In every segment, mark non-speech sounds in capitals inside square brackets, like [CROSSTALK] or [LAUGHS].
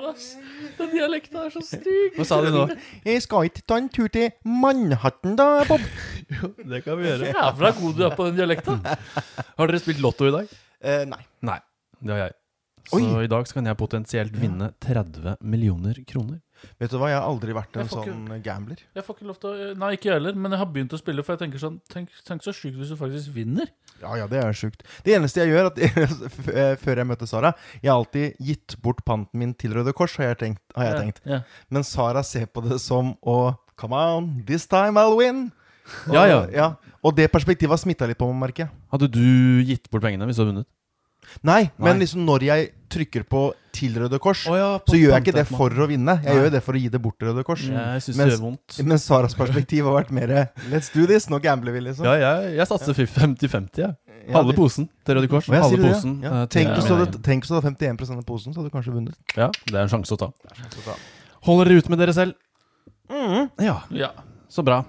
ass. Den dialekten er så stygg. Hva sa du nå? Jeg skal ikke ta en tur til Manhattan da, Bob. Det kan vi gjøre. Jævla god du er på den dialekten. Har dere spilt lotto i dag? Eh, nei. Nei, det har jeg. Så Oi. i dag så kan jeg potensielt vinne 30 millioner kroner. Vet du hva, jeg har aldri vært en Jeg får ikke- sånn gambler. Jeg får ikke lov til å Nei, ikke jeg heller, men jeg har begynt å spille, for jeg tenker sånn Tenk, tenk så sjukt hvis du faktisk vinner. Ja, ja, det er sjukt. Det eneste jeg gjør, at, [LAUGHS] f- eh, før jeg møtte Sara Jeg har alltid gitt bort panten min til Røde Kors, har jeg tenkt. Har jeg tenkt. Ja, ja. Men Sara ser på det som å Come on, this time I'll win. Og, Ja, ja. Og det perspektivet har smitta litt på meg, merker jeg. Hadde du gitt bort pengene hvis du hadde vunnet? Nei, men Nei. liksom når jeg trykker på til Røde Kors, så gjør jeg ikke det for å vinne. Jeg Nei. gjør jo det for å gi det bort til Røde Kors. Mm. Jeg syns det Mens- gjør vondt. Men Saras perspektiv har vært mer Let's do this, nå gambler vi, liksom. Ja, jeg, jeg satser 50-50, jeg. Ja, Halve det- posen til Røde Kors. Å, jeg sier Halve det, ja. posen Ja. eh, til Tenk hvis du min hadde- egen. tenk hvis du hadde 51 av posen, så hadde du kanskje vunnet. Ja, det er en sjanse å ta. Holder dere ut med dere selv? Mm. Ja, ja. så bra.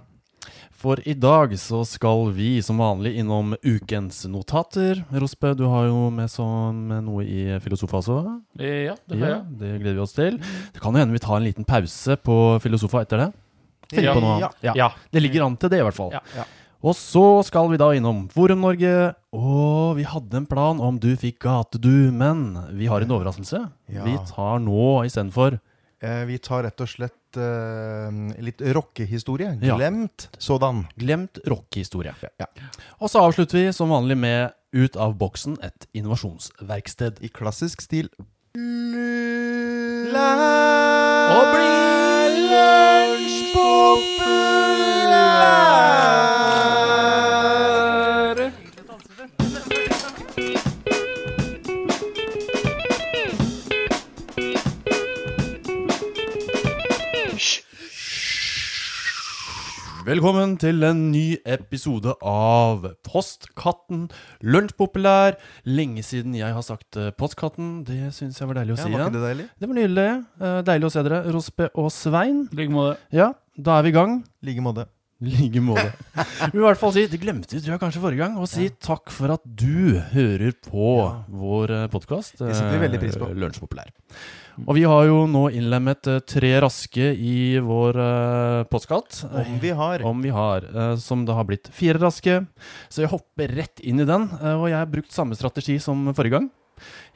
For i dag så skal vi som vanlig innom ukens notater. Rospe, du har jo med sånn med noe i Filosofa også. Eh, ja det har Ja, jeg. det gleder vi oss til. Det kan jo hende vi tar en liten pause på Filosofa etter det. Tenk Ja. på noe annet. Ja. Ja. Det ligger an til det, i hvert fall. Ja. Ja. Og så skal vi da innom Forum Norge. Og vi hadde en plan om du fikk gate, du, men vi har en overraskelse. Ja. Vi tar nå istedenfor Eh, vi tar rett og slett eh, litt rockehistorie. Ja. Glemt sådan. glemt rockehistorie. Ja. Og så avslutter vi som vanlig med Ut av boksen, et innovasjonsverksted. I klassisk stil. Og bli lunsjpopulær! Velkommen til en ny episode av Postkatten. Lunsjpopulær. Lenge siden jeg har sagt eh, Postkatten. Det syns jeg var deilig å Ja, si var ikke igjen. det deilig? Det var nydelig. Eh, Deilig å se dere, Rospe og Svein. I like måte. Ja, da er vi i gang. I like måte. I like måte. [LAUGHS] Vi vil i hvert fall si, det glemte vi tror jeg kanskje forrige gang, å si takk for at du hører på vår podkast. Det setter vi veldig pris på. Lunsjpopulær. Og vi har jo nå innlemmet eh, tre raske i vår eh, postkatt. Om vi har. Om vi har, eh, som det har blitt fire raske. Så jeg hopper rett inn i den, eh, og jeg har brukt samme strategi som forrige gang.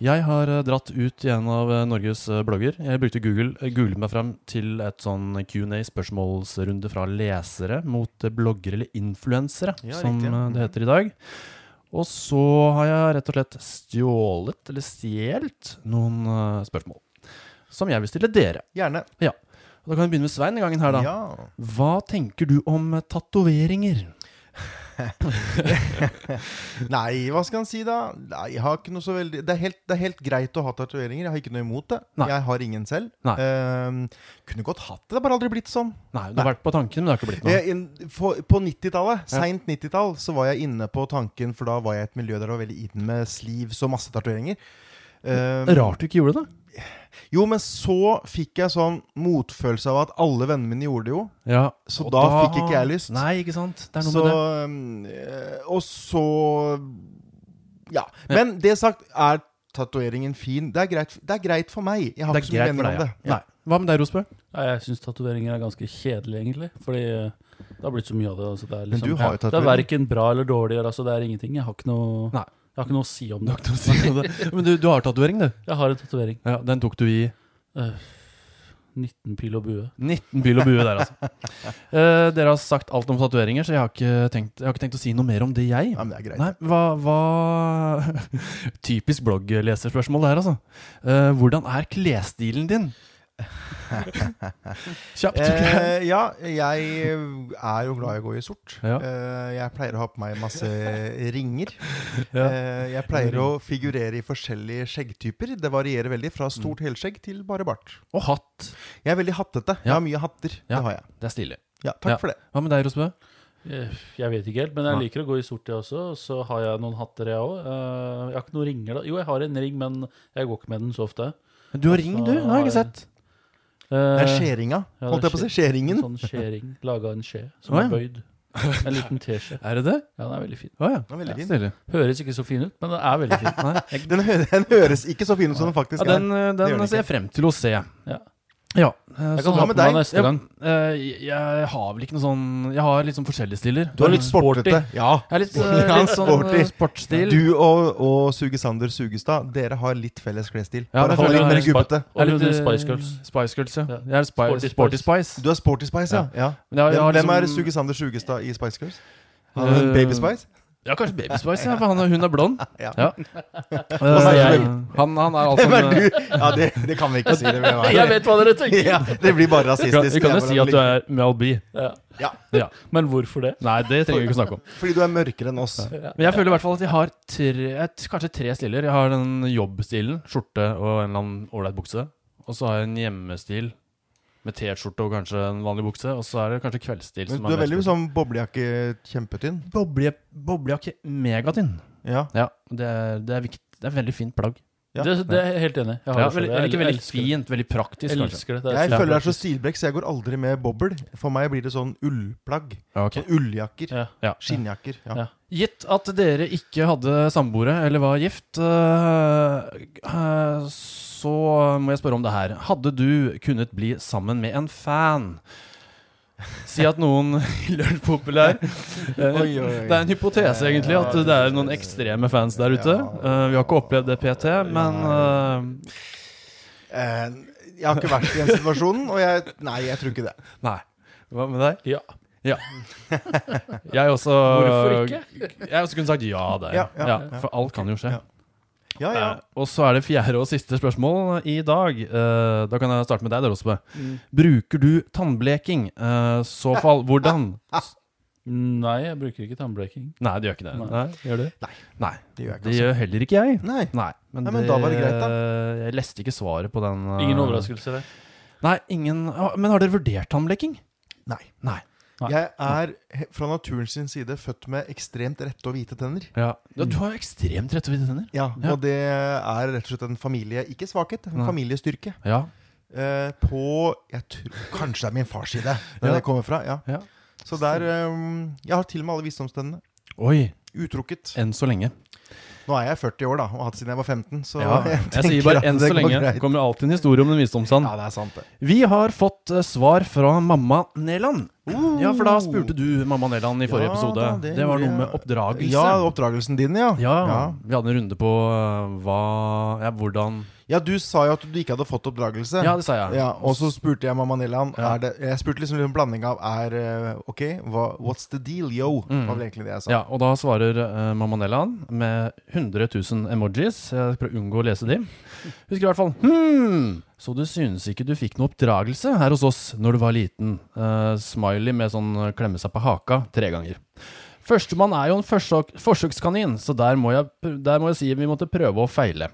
Jeg har eh, dratt ut i en av eh, Norges eh, blogger. Jeg brukte Google, eh, googlet meg frem til et sånn Q&A-spørsmålsrunde fra lesere mot eh, bloggere eller influensere, Ja, som riktig. Mm. eh, det heter i dag. Og så har jeg rett og slett stjålet, eller stjelt, noen eh, spørsmål. Som jeg vil stille dere. Gjerne. Og da kan vi begynne med Svein den gangen her, da. Ja. Hva tenker du om eh, tatoveringer? Nei, hva skal en si, da? Nei, jeg har ikke noe så veldig det er, helt, det er helt greit å ha tatoveringer. Jeg har ikke noe imot det. Nei. Jeg har ingen selv. Nei. Ehm, kunne godt hatt det. Det har bare aldri blitt sånn. Nei, du har vært på tanken, men det har ikke blitt noe. Jeg, inn- for, på 90-tallet, Ja. seint 90-tall, så var jeg inne på tanken, for da var jeg i et miljø der det var veldig inn med sleeves og masse tatoveringer. Ehm, Rart du ikke gjorde det. jo, men så fikk jeg sånn motfølelse av at alle vennene mine gjorde det jo. Ja, Så og da fikk ikke jeg lyst. Nei, ikke sant. Det er noe Så, med det. eh, og så Ja. Men det sagt, er tatoveringen fin? Det er, greit, det er greit for meg. Jeg har Det er ikke så mye greit for meninger om deg. det. Ja. Nei. Hva med deg, Rosbø? [LAUGHS] Nei, jeg syns tatoveringer er ganske kjedelig, egentlig. Fordi eh, det har blitt så mye av det. Altså, det er Men liksom, du har Det jo er tatovering. verken bra eller dårlig. eller, Altså, det er ingenting. Jeg har ikke noe, Nei. jeg har ikke noe å si om Du det. har ikke noe å si om det. Men du, du har tatovering, du. Jeg har en tatovering. Ja, den tok du i Eh, 19 pil og bue. 19 pil og bue der, altså. [LAUGHS] Eh, dere har sagt alt om tatoveringer, så jeg har, ikke tenkt, jeg har ikke tenkt å si noe mer om det, jeg. Ja, men det er greit. Nei, hva, hva [LAUGHS] Typisk bloggleserspørsmål det her, altså. Eh, hvordan er klesstilen [LAUGHS] din? Kjapt. ok. Eh, ja, jeg er jo glad i å gå i sort. Ja. Eh, jeg pleier å ha på meg [LAUGHS] masse ringer. Ja. Eh, jeg pleier å figurere i forskjellige skjeggtyper. Det varierer veldig Mm. fra stort helskjegg til bare bart. Og hatt. Jeg er veldig hattete. Jeg Ja. har mye hatter. Ja. Det har jeg. Det er stilig. Ja, takk Ja. for det. Hva med deg, Rosbø? Eh, Jeg vet ikke helt, men jeg Nei. liker å gå i sort, jeg også. og Så har jeg noen hatter, jeg òg. Jeg har ikke noen ringer, da. Jo, jeg har en ring, men jeg går ikke med den så ofte. Du har ring, du. Det har jeg ikke har- sett. Det er Eh, skjæringa. ja, det Holdt jeg på å si. Skjæringen. En sånn skjering. Laga en skje som Å, er ja. bøyd. En liten teskje. Er det det? Ja, den er veldig fin. Å ja. Den er veldig fin. Stilig. Høres ikke så fin ut, men den er veldig fin. Nei. Den, hø den høres ikke så fin ut som den faktisk Ja, er. den eh, det gjør den den ser ikke. jeg frem til å se. Ja, eh, Jeg så- kan ha med på meg deg? neste gang. Eh, jeg- jeg har vel ikke noe sånn Jeg har litt sånn forskjellige stiler. Du er litt Sporty. sportete. Ja. Jeg er litt, Ja, eh, litt sånn sporty. eh, sportsstil. Du og, og Suge Sander Sugestad, dere har litt felles klesstil. Ja, Bare det ha føler litt jeg mer er spa- gubbete. Og litt Jeg er litt, eh, Spice Girls. Spice Girls, ja. Ja. Jeg er spi Sporty sporty, Spice. Du er sporty Spice, ja. ja. Men jeg- jeg har Hvem, hvem er liksom- Suge Sander Sugestad i Spice Girls? Eh, Baby Spice? Ja, kanskje Baby Spice, ja, for han, er- hun er blond. [LAUGHS] Ja. Eh, jeg? han, han er altså Hvem er en, du? Ja, det, det kan vi ikke si. det hvem [LAUGHS] er. Jeg vet hva dere tenker! ja, [LAUGHS] Det blir bare Vi kan, rasistisk. vi kan jo Det si at du hvordan er Mel B. Ja. Ja. Ja. Men hvorfor det? Nei, det trenger vi ikke snakke om. det ligger. Fordi du er mørkere enn oss. Men jeg føler i hvert fall at jeg har tre, et, kanskje tre stiler. Jeg har den jobbstilen, skjorte og en eller annen ålreit bukse. Og så har jeg en hjemmestil med T-skjorte og kanskje en vanlig bukse. Og så er det kanskje kveldsstil. Men du er veldig sånn boblejakke, kjempetynn. boble, Boblejakke megatynn. Ja. Ja, det er, det er viktig. Det er veldig fint plagg. Ja. Det, det er jeg helt enig i. Jeg har Ja, det selv. veldig, Jeg eller ikke veldig elsker det. fint, veldig praktisk, Jeg kanskje. elsker det. Jeg føler jeg er så stilblekk, så jeg går aldri med bobbel. For meg blir det sånn ullplagg. Ja, ok. Sånn ulljakker. Ja. Ja. Skinnjakker. Ja. Ja. Gitt at dere ikke hadde samboere eller var gift, øh, øh, så må jeg spørre om det her. Hadde du kunnet bli sammen med en fan? Si at noen [LAUGHS] hyller [LAUGHS] populær. Oi, Eh, Det oi, Eh, oi. er en hypotese, egentlig, at det er noen ekstreme fans der ute. Eh, Vi har ikke opplevd det PT, men øh, Eh, Jeg har ikke vært i den situasjonen, og jeg Nei, jeg tror ikke det. Nei. Hva med deg? Ja. [LAUGHS] Jeg også Hvorfor ikke? Jeg også kunne sagt ja der. Ja, ja, ja, for alt kan jo skje. Ja. Ja, ja. Eh, Og så er det fjerde og siste spørsmål i dag. Eh, da kan jeg starte med deg, der, Osbe. Mm. Bruker du tannbleking? Eh, så fall, [LAUGHS] hvordan? Nei, jeg bruker ikke tannbleking. Nei, det gjør ikke det. Nei. gjør det? Nei. Nei, Det gjør jeg det ikke. gjør heller ikke jeg. Altså. Nei. Nei, men, Nei, men da var det greit, da. eh, Jeg leste ikke svaret på den. eh, Ingen overraskelser der. Nei, ingen ah, Men har dere vurdert tannbleking? Nei. Nei. Nei. Jeg er he- fra naturen sin side født med ekstremt rette og hvite tenner. Ja. Du, du har jo ekstremt rette hvite tenner. Ja, Ja. Og det er rett og slett en familie Ikke svakhet, en Nei. familiestyrke. Ja. Eh, på jeg tror, Kanskje det er min [LAUGHS] fars side, der Ja. jeg kommer fra. ja. ja. Så der eh, Jeg har til og med alle visdomstennene. Oi, Utrukket. enn så lenge. Nå er jeg 40 år, da, og har hatt siden jeg var 15. Så Ja, [LAUGHS] jeg jeg tenker sier bare at 'enn det så går lenge'. greit. Kommer alltid en historie om en visdomsann. Ja, det er sant, det. Vi har fått eh, svar fra mamma Neland. Ja, for da spurte du mamma Neland i forrige Uh. Ja, episode. da, det, det var gjorde noe jeg. med oppdragelse. Ja, oppdragelsen din, ja. Ja, ja. Vi hadde en runde på eh, hva Ja, hvordan Ja, du sa jo at du ikke hadde fått oppdragelse. Ja, det sa jeg. Ja, og så spurte jeg mamma Nellan Ja. er det, Jeg spurte liksom en blanding av Er eh, ok, hva, what's the deal, yo? Mm. Var vel egentlig det jeg sa. Ja, og da svarer eh, mamma Neland med 100 000 emojis. Jeg prøver å unngå å lese de. Husker i hvert fall Hm, så du synes ikke du fikk noe oppdragelse her hos oss når du var liten? Eh, smiley med sånn eh, klemme seg på haka tre ganger. Førstemann er jo en forsøk, forsøkskanin, så der må, jeg, pr- der må jeg si vi måtte prøve og feile.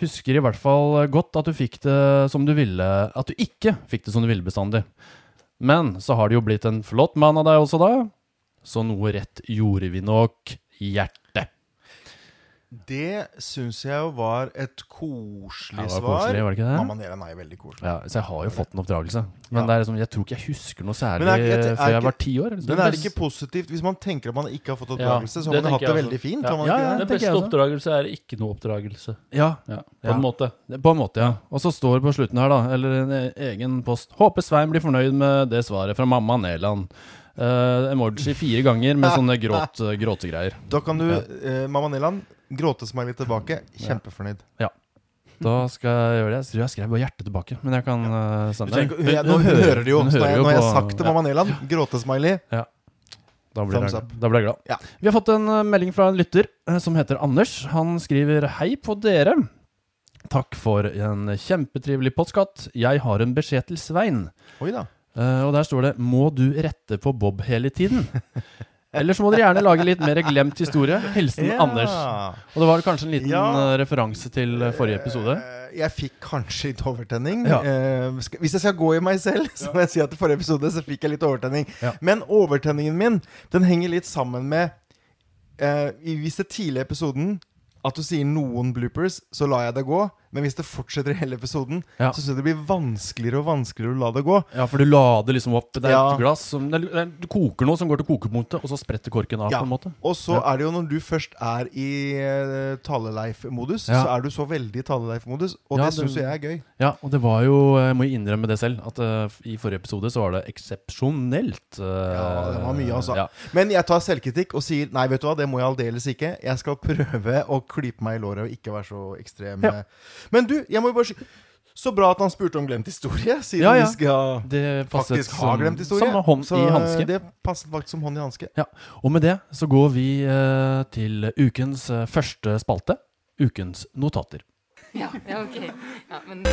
Husker i hvert fall eh, godt at du fikk det som du ville At du ikke fikk det som du ville bestandig. Men så har det jo blitt en flott mann av deg også, da. Så noe rett gjorde vi nok. Hjerte. Det syns jeg jo var et koselig Ja, det var svar. koselig, var det ikke det? Mamma Nellan er jo veldig koselig. Ja, så jeg har jo fått en oppdragelse. Men Ja. det er liksom, jeg tror ikke jeg husker noe særlig Men er ikke- er før jeg ikke- var ti år. eller Men er det sånn. ikke positivt hvis man tenker at man ikke har fått Ja, oppdragelse? så det har man hatt tenker det jeg veldig også. fint. Ja. Har man Ja, ikke ja. det? Den tenker jeg beste også. oppdragelse er ikke noe oppdragelse. Ja, Ja, på Ja. en måte. på en måte, ja. Og så står det på slutten her, da, eller en e- egen post Håper Svein blir fornøyd med det svaret fra mamma Neland. Eh, emoji fire ganger med sånne [LAUGHS] gråt, gråtegreier. Da kan du, Ja. eh, mamma Nellan, gråtesmiley tilbake. Kjemfornøyd. Da skal jeg gjøre det. Jeg tror jeg skrev bare hjerte tilbake, men jeg kan eh, Du sende trenger det. ikke- jeg- Nå hører du jo. hun så Nå har jeg- hører jo nå har jeg på- sagt til mamma Nellan gråtesmiley. Da blir, Thumbs jeg, up. da blir jeg glad. Ja. Vi har fått en eh, melding fra en lytter eh, som heter Anders. Han skriver Hei på dere. Takk for en kjempetrivelig postkatt. Jeg har en beskjed til Svein. Oi da. Eh, og der står det 'Må du rette på Bob hele [LAUGHS] tiden'? Ellers må dere gjerne lage litt mer glemt historie. Hilsen Ja. Anders. Og det var kanskje en liten Ja. eh, referanse til eh, forrige episode. Eh, Jeg fikk kanskje litt overtenning. Ja. Eh, skal- Hvis jeg skal gå i meg selv, [LAUGHS] så må jeg si at i forrige episode så fikk jeg litt overtenning. Ja. Men overtenningen min, den henger litt sammen med eh, i- Hvis det tidligere i episoden at du sier noen bloopers, så lar jeg det gå. Men hvis det fortsetter i hele episoden, Ja. så synes jeg det blir vanskeligere og vanskeligere å la det gå. Ja, for du lader liksom opp. Det er Ja. et glass som det er, det er, Du koker noe som går til kokepunktet, og så spretter korken av. Ja. på en måte Og så er det jo når du først er i eh, taleleif-modus, Ja. så er du så veldig i taleleif-modus, og Ja, det det- syns jeg er gøy. Ja, og det var jo Jeg må innrømme det selv, at eh, i forrige episode så var det eksepsjonelt. eh, Ja, det var mye, altså. ja. Men jeg tar selvkritikk og sier nei, vet du hva, det må jeg aldeles ikke. Jeg skal prøve [LAUGHS] å klype meg i låret og ikke være så ekstrem. Ja. Men du, jeg må jo bare si Så bra at han spurte om glemt historie, [LAUGHS] siden Ja, ja. vi skal Det passet faktisk ha som- glemt historie. Som hånd så eh, i hanske. det passet faktisk som hånd i hanske. Ja, og med det så går vi eh, til ukens eh, første spalte, ukens notater. Ja, ja ok. Ja, men...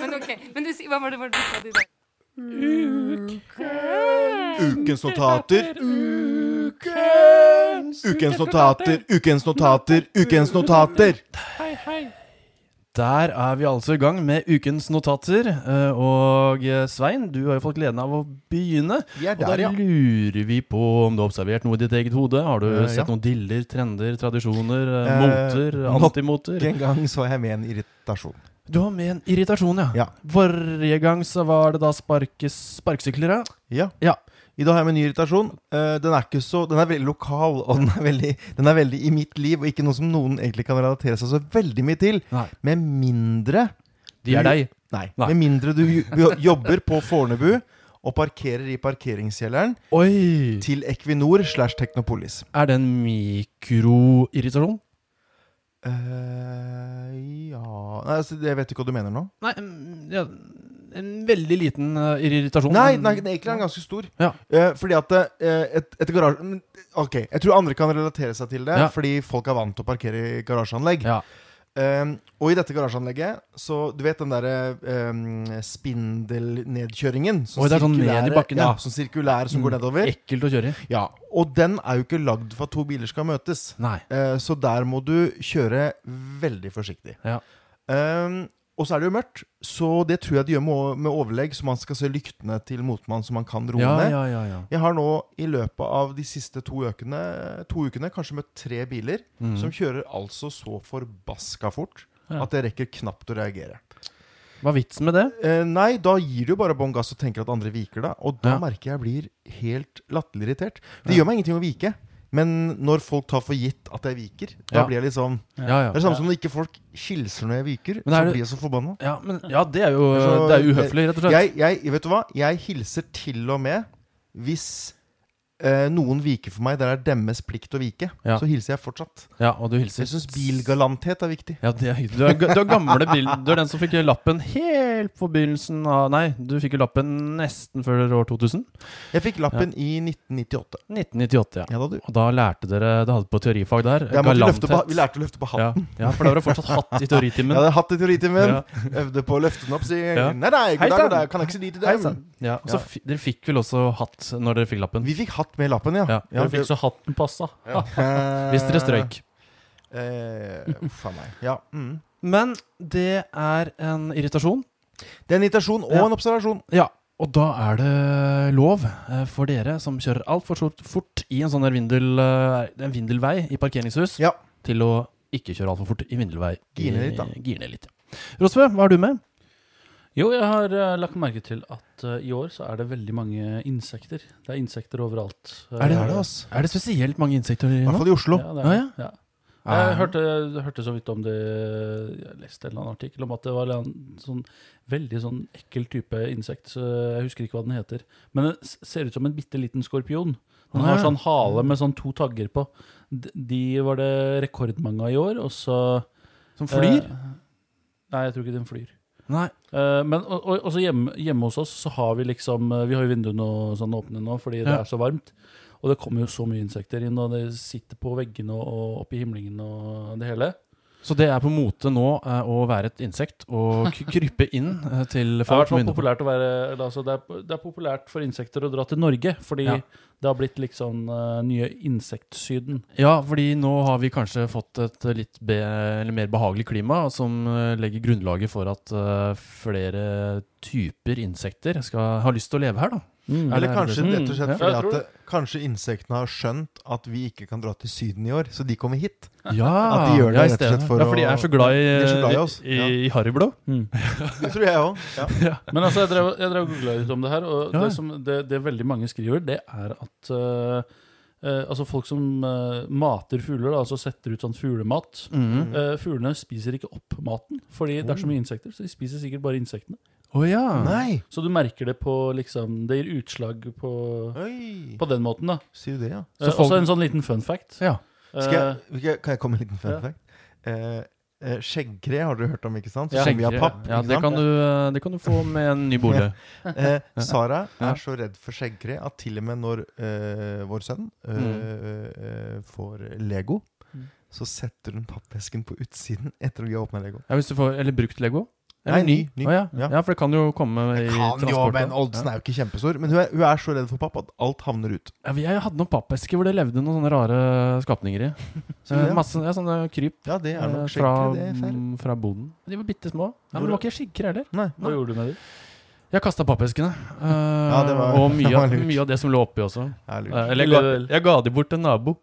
Men ok, men du, si- hva var det, var det du sa til deg? Ukens notater. Ukens Ukens notater, ukens notater, ukens notater. Der er vi altså i gang med ukens notater. eh, Og eh, Svein, du har jo fått gleden av å begynne. Vi er Og da der, ja. lurer vi på om du har observert noe i ditt eget hode. Har du Eh, ja. sett noen diller, trender, tradisjoner, eh, Eh, moter, nok antimoter? Ikke en gang så jeg med en irritasjon. Du har med en irritasjon, ja. Ja. Forrige gang så var det da sparkes, sparkesykler, ja. Ja. Ja. I dag har jeg med en ny irritasjon. Eh, den, er ikke så, den er veldig lokal, og den er veldig, den er veldig i mitt liv, og ikke noe som noen egentlig kan relatere seg så veldig mye til. Nei. Med mindre De er Du- deg. Nei. Nei. Med mindre du jo- jobber på Fornebu og parkerer i parkeringskjelleren Oi! til Equinor slash Technopolis. Er det en mikroirritasjon? Eh, ja Nei, altså, Jeg vet ikke hva du mener nå. Nei, en- ja, en veldig liten eh, irritasjon. Nei, nei, den er egentlig er den ganske stor. Ja. Eh, fordi at eh, et, et garasje men, Ok, jeg tror andre kan relatere seg til det, Ja. fordi folk er vant til å parkere i garasjeanlegg. Ja. Ehm, og i dette garasjeanlegget, så du vet den derre ehm, spindelnedkjøringen som Oi, det er sånn ned i sirkulære- bakken, ja. ja. Mm. Sånn sirkulær som går nedover. Ekkelt å kjøre i. Ja, Og den er jo ikke lagd for at to biler skal møtes. Nei. Eh, så der må du kjøre veldig forsiktig. Ja. Ehm, og så er det jo mørkt, så det tror jeg de gjør med, med overlegg, så man skal se lyktene til motmann, så man kan roe Ja, ned. ja, ja, ja. Jeg har nå i løpet av de siste to, økene, to ukene kanskje møtt tre biler som kjører altså så forbaska fort Mhm. Ja. at jeg rekker knapt å reagere. Hva er vitsen med det? Eh, nei, da gir du bare bånn gass og tenker at andre viker deg, og da Ja. merker jeg blir helt latterlig irritert. Det Ja. gjør meg ingenting å vike, men når folk tar for gitt at jeg viker, da Ja. blir jeg liksom Ja, Det er ja. det samme som når ikke folk hilser når jeg viker, Men er så det- blir jeg så forbanna. Ja, men, ja det, er jo, Så- det er jo uhøflig, rett og slett. Jeg, jeg, vet du hva? Jeg hilser til og med hvis eh, noen viker for meg der det er deres plikt å vike. Ja. Så hilser jeg fortsatt. Ja, og du Så jeg hilser syns bilgalanthet er viktig. Ja, det er, du, er, ga- du er gamle bil. Du er den som fikk lappen helt på begynnelsen av Nei, du fikk jo lappen nesten før år 2000. Jeg fikk lappen i 1998. 1998, ja. Ja da, du. Og da lærte dere Det hadde på teorifag der. Jeg måtte løfte på, galanthet. vi lærte å løfte på ja, hatten. ja, for da var det fortsatt hatt i [LAUGHS] teoritimen. Jeg hadde hatt det i teoritimen. Ja. Øvde på å løfte den opp. Si Ja. nei, nei, god Hei dag, sann. god dag. Kan jeg ikke si de til Hei deg? sann. Ja, og så fi- dere fikk vel også hatt når dere fikk lappen? Vi fikk hatt med i lappen, ja. Ja, Dere fikk så hatten passa. [LAUGHS] Hvis dere strøyk. Eh, uff a meg. Ja. Mm. Men det er en irritasjon. Det er en invitasjon og Ja. en observasjon. Ja, og da er det lov eh, for dere som kjører altfor fort, fort i en sånn der vindel, eh, en vindelvei i parkeringshus, Ja. til å ikke kjøre altfor fort i vindelvei. Gire ned litt, da. Gire ned litt. Rosve, hva er du med? Jo, jeg har eh, lagt merke til at eh, i år så er det veldig mange insekter. Det er insekter overalt. Eh, Er det- altså. Er det spesielt mange insekter I nå? hvert fall i Oslo. Ja, det Å, er, ja. det. ja. Er- Jeg hørte, hørte så vidt om det Jeg leste en eller annen artikkel om at det var en sånn veldig sånn ekkel type insekt. Så jeg husker ikke hva den heter. Men den s- ser ut som en bitte liten skorpion. Den har Nei. sånn hale med sånn to tagger på. D- De var det rekordmange av i år, og så Som flyr? Eh, nei, jeg tror ikke den flyr. Nei. Eh, men og, og, også hjemme, hjemme hos oss så har vi liksom eh, Vi har jo vinduene og sånn åpne nå fordi det Ja. er så varmt. Og det kommer jo så mye insekter inn, og det sitter på veggene og, og oppi himlingen og det hele. Så det er på mote nå eh, å være et insekt og k- krype inn eh, til Det er i folk hvert fall med populært å være eller altså det, er, det er populært for insekter å dra til Norge, fordi Ja. det har blitt liksom eh, nye Insektsyden. Ja, fordi nå har vi kanskje fått et litt be eller mer behagelig klima, som eh, legger grunnlaget for at eh, flere typer insekter skal ha lyst til å leve her, da. Mm. Eller kanskje Mm, rett og slett ja. fordi Jeg at tror det- kanskje insektene har skjønt at vi ikke kan dra til Syden i år, så de kommer hit. [LAUGHS] ja, At de gjør det ja, i rett og slett stedet. for Ja, for de å- er så glad i, De er så glad i i, oss, ja. i Haribo. Mm. Det tror jeg òg. Ja. Men altså, jeg drev, jeg drev og googla litt om det her, og Ja. det, som, det, det veldig mange skriver, det er at eh, eh, Altså folk som eh, mater fugler, da, altså setter ut sånn fuglemat Mm. eh, Fuglene spiser ikke opp maten, fordi det er så mye insekter. Så de spiser sikkert bare insektene. Å ja. Nei! Så du merker det på liksom Det gir utslag på, Oi! på den måten, da. Sier du det, ja? Eh, Så folk- Også en sånn liten fun fact. Ja. Skal jeg, skal jeg- kan jeg komme med en liten fun Eh, Ja. fact? Eh, eh, skjeggkre har dere hørt om, ikke sant? Ja. Som vi har Skjeggkre. papp. Ja, ikke det sant? kan, du, eh, det kan du få med en [LAUGHS] ny bolig. Eh, Sara Ja. er så redd for skjeggkre at til og med når eh, vår sønn eh, eh, får Lego, Mm. så setter hun pappesken på utsiden etter at vi har åpna Lego. Ja, hvis du får, eller brukt Lego? Eller Nei, ny, ny. Å ja. Ja. Ja. for det kan jo komme i Kan jo, transporten. men oddsen er jo ikke kjempestor. Men hun er, hun er så redd for papp at alt havner ut. Ja, vi- jeg hadde noen pappesker hvor det levde noen sånne rare skapninger i. Så det- Eh, Masse ja, sånne kryp Ja, det er eh, nok fra, skjeggkre, det er fair. mm, fra boden. De var bitte små. Ja, men det var ikke skygger heller. Nei. Hva gjorde du med dem? Jeg kasta pappeskene. eh, det var- og mye, [LAUGHS] det var av- lurt. mye av det som lå oppi også. Ja, lurt. Eh, Eller jeg ga, jeg ga de bort til en nabo.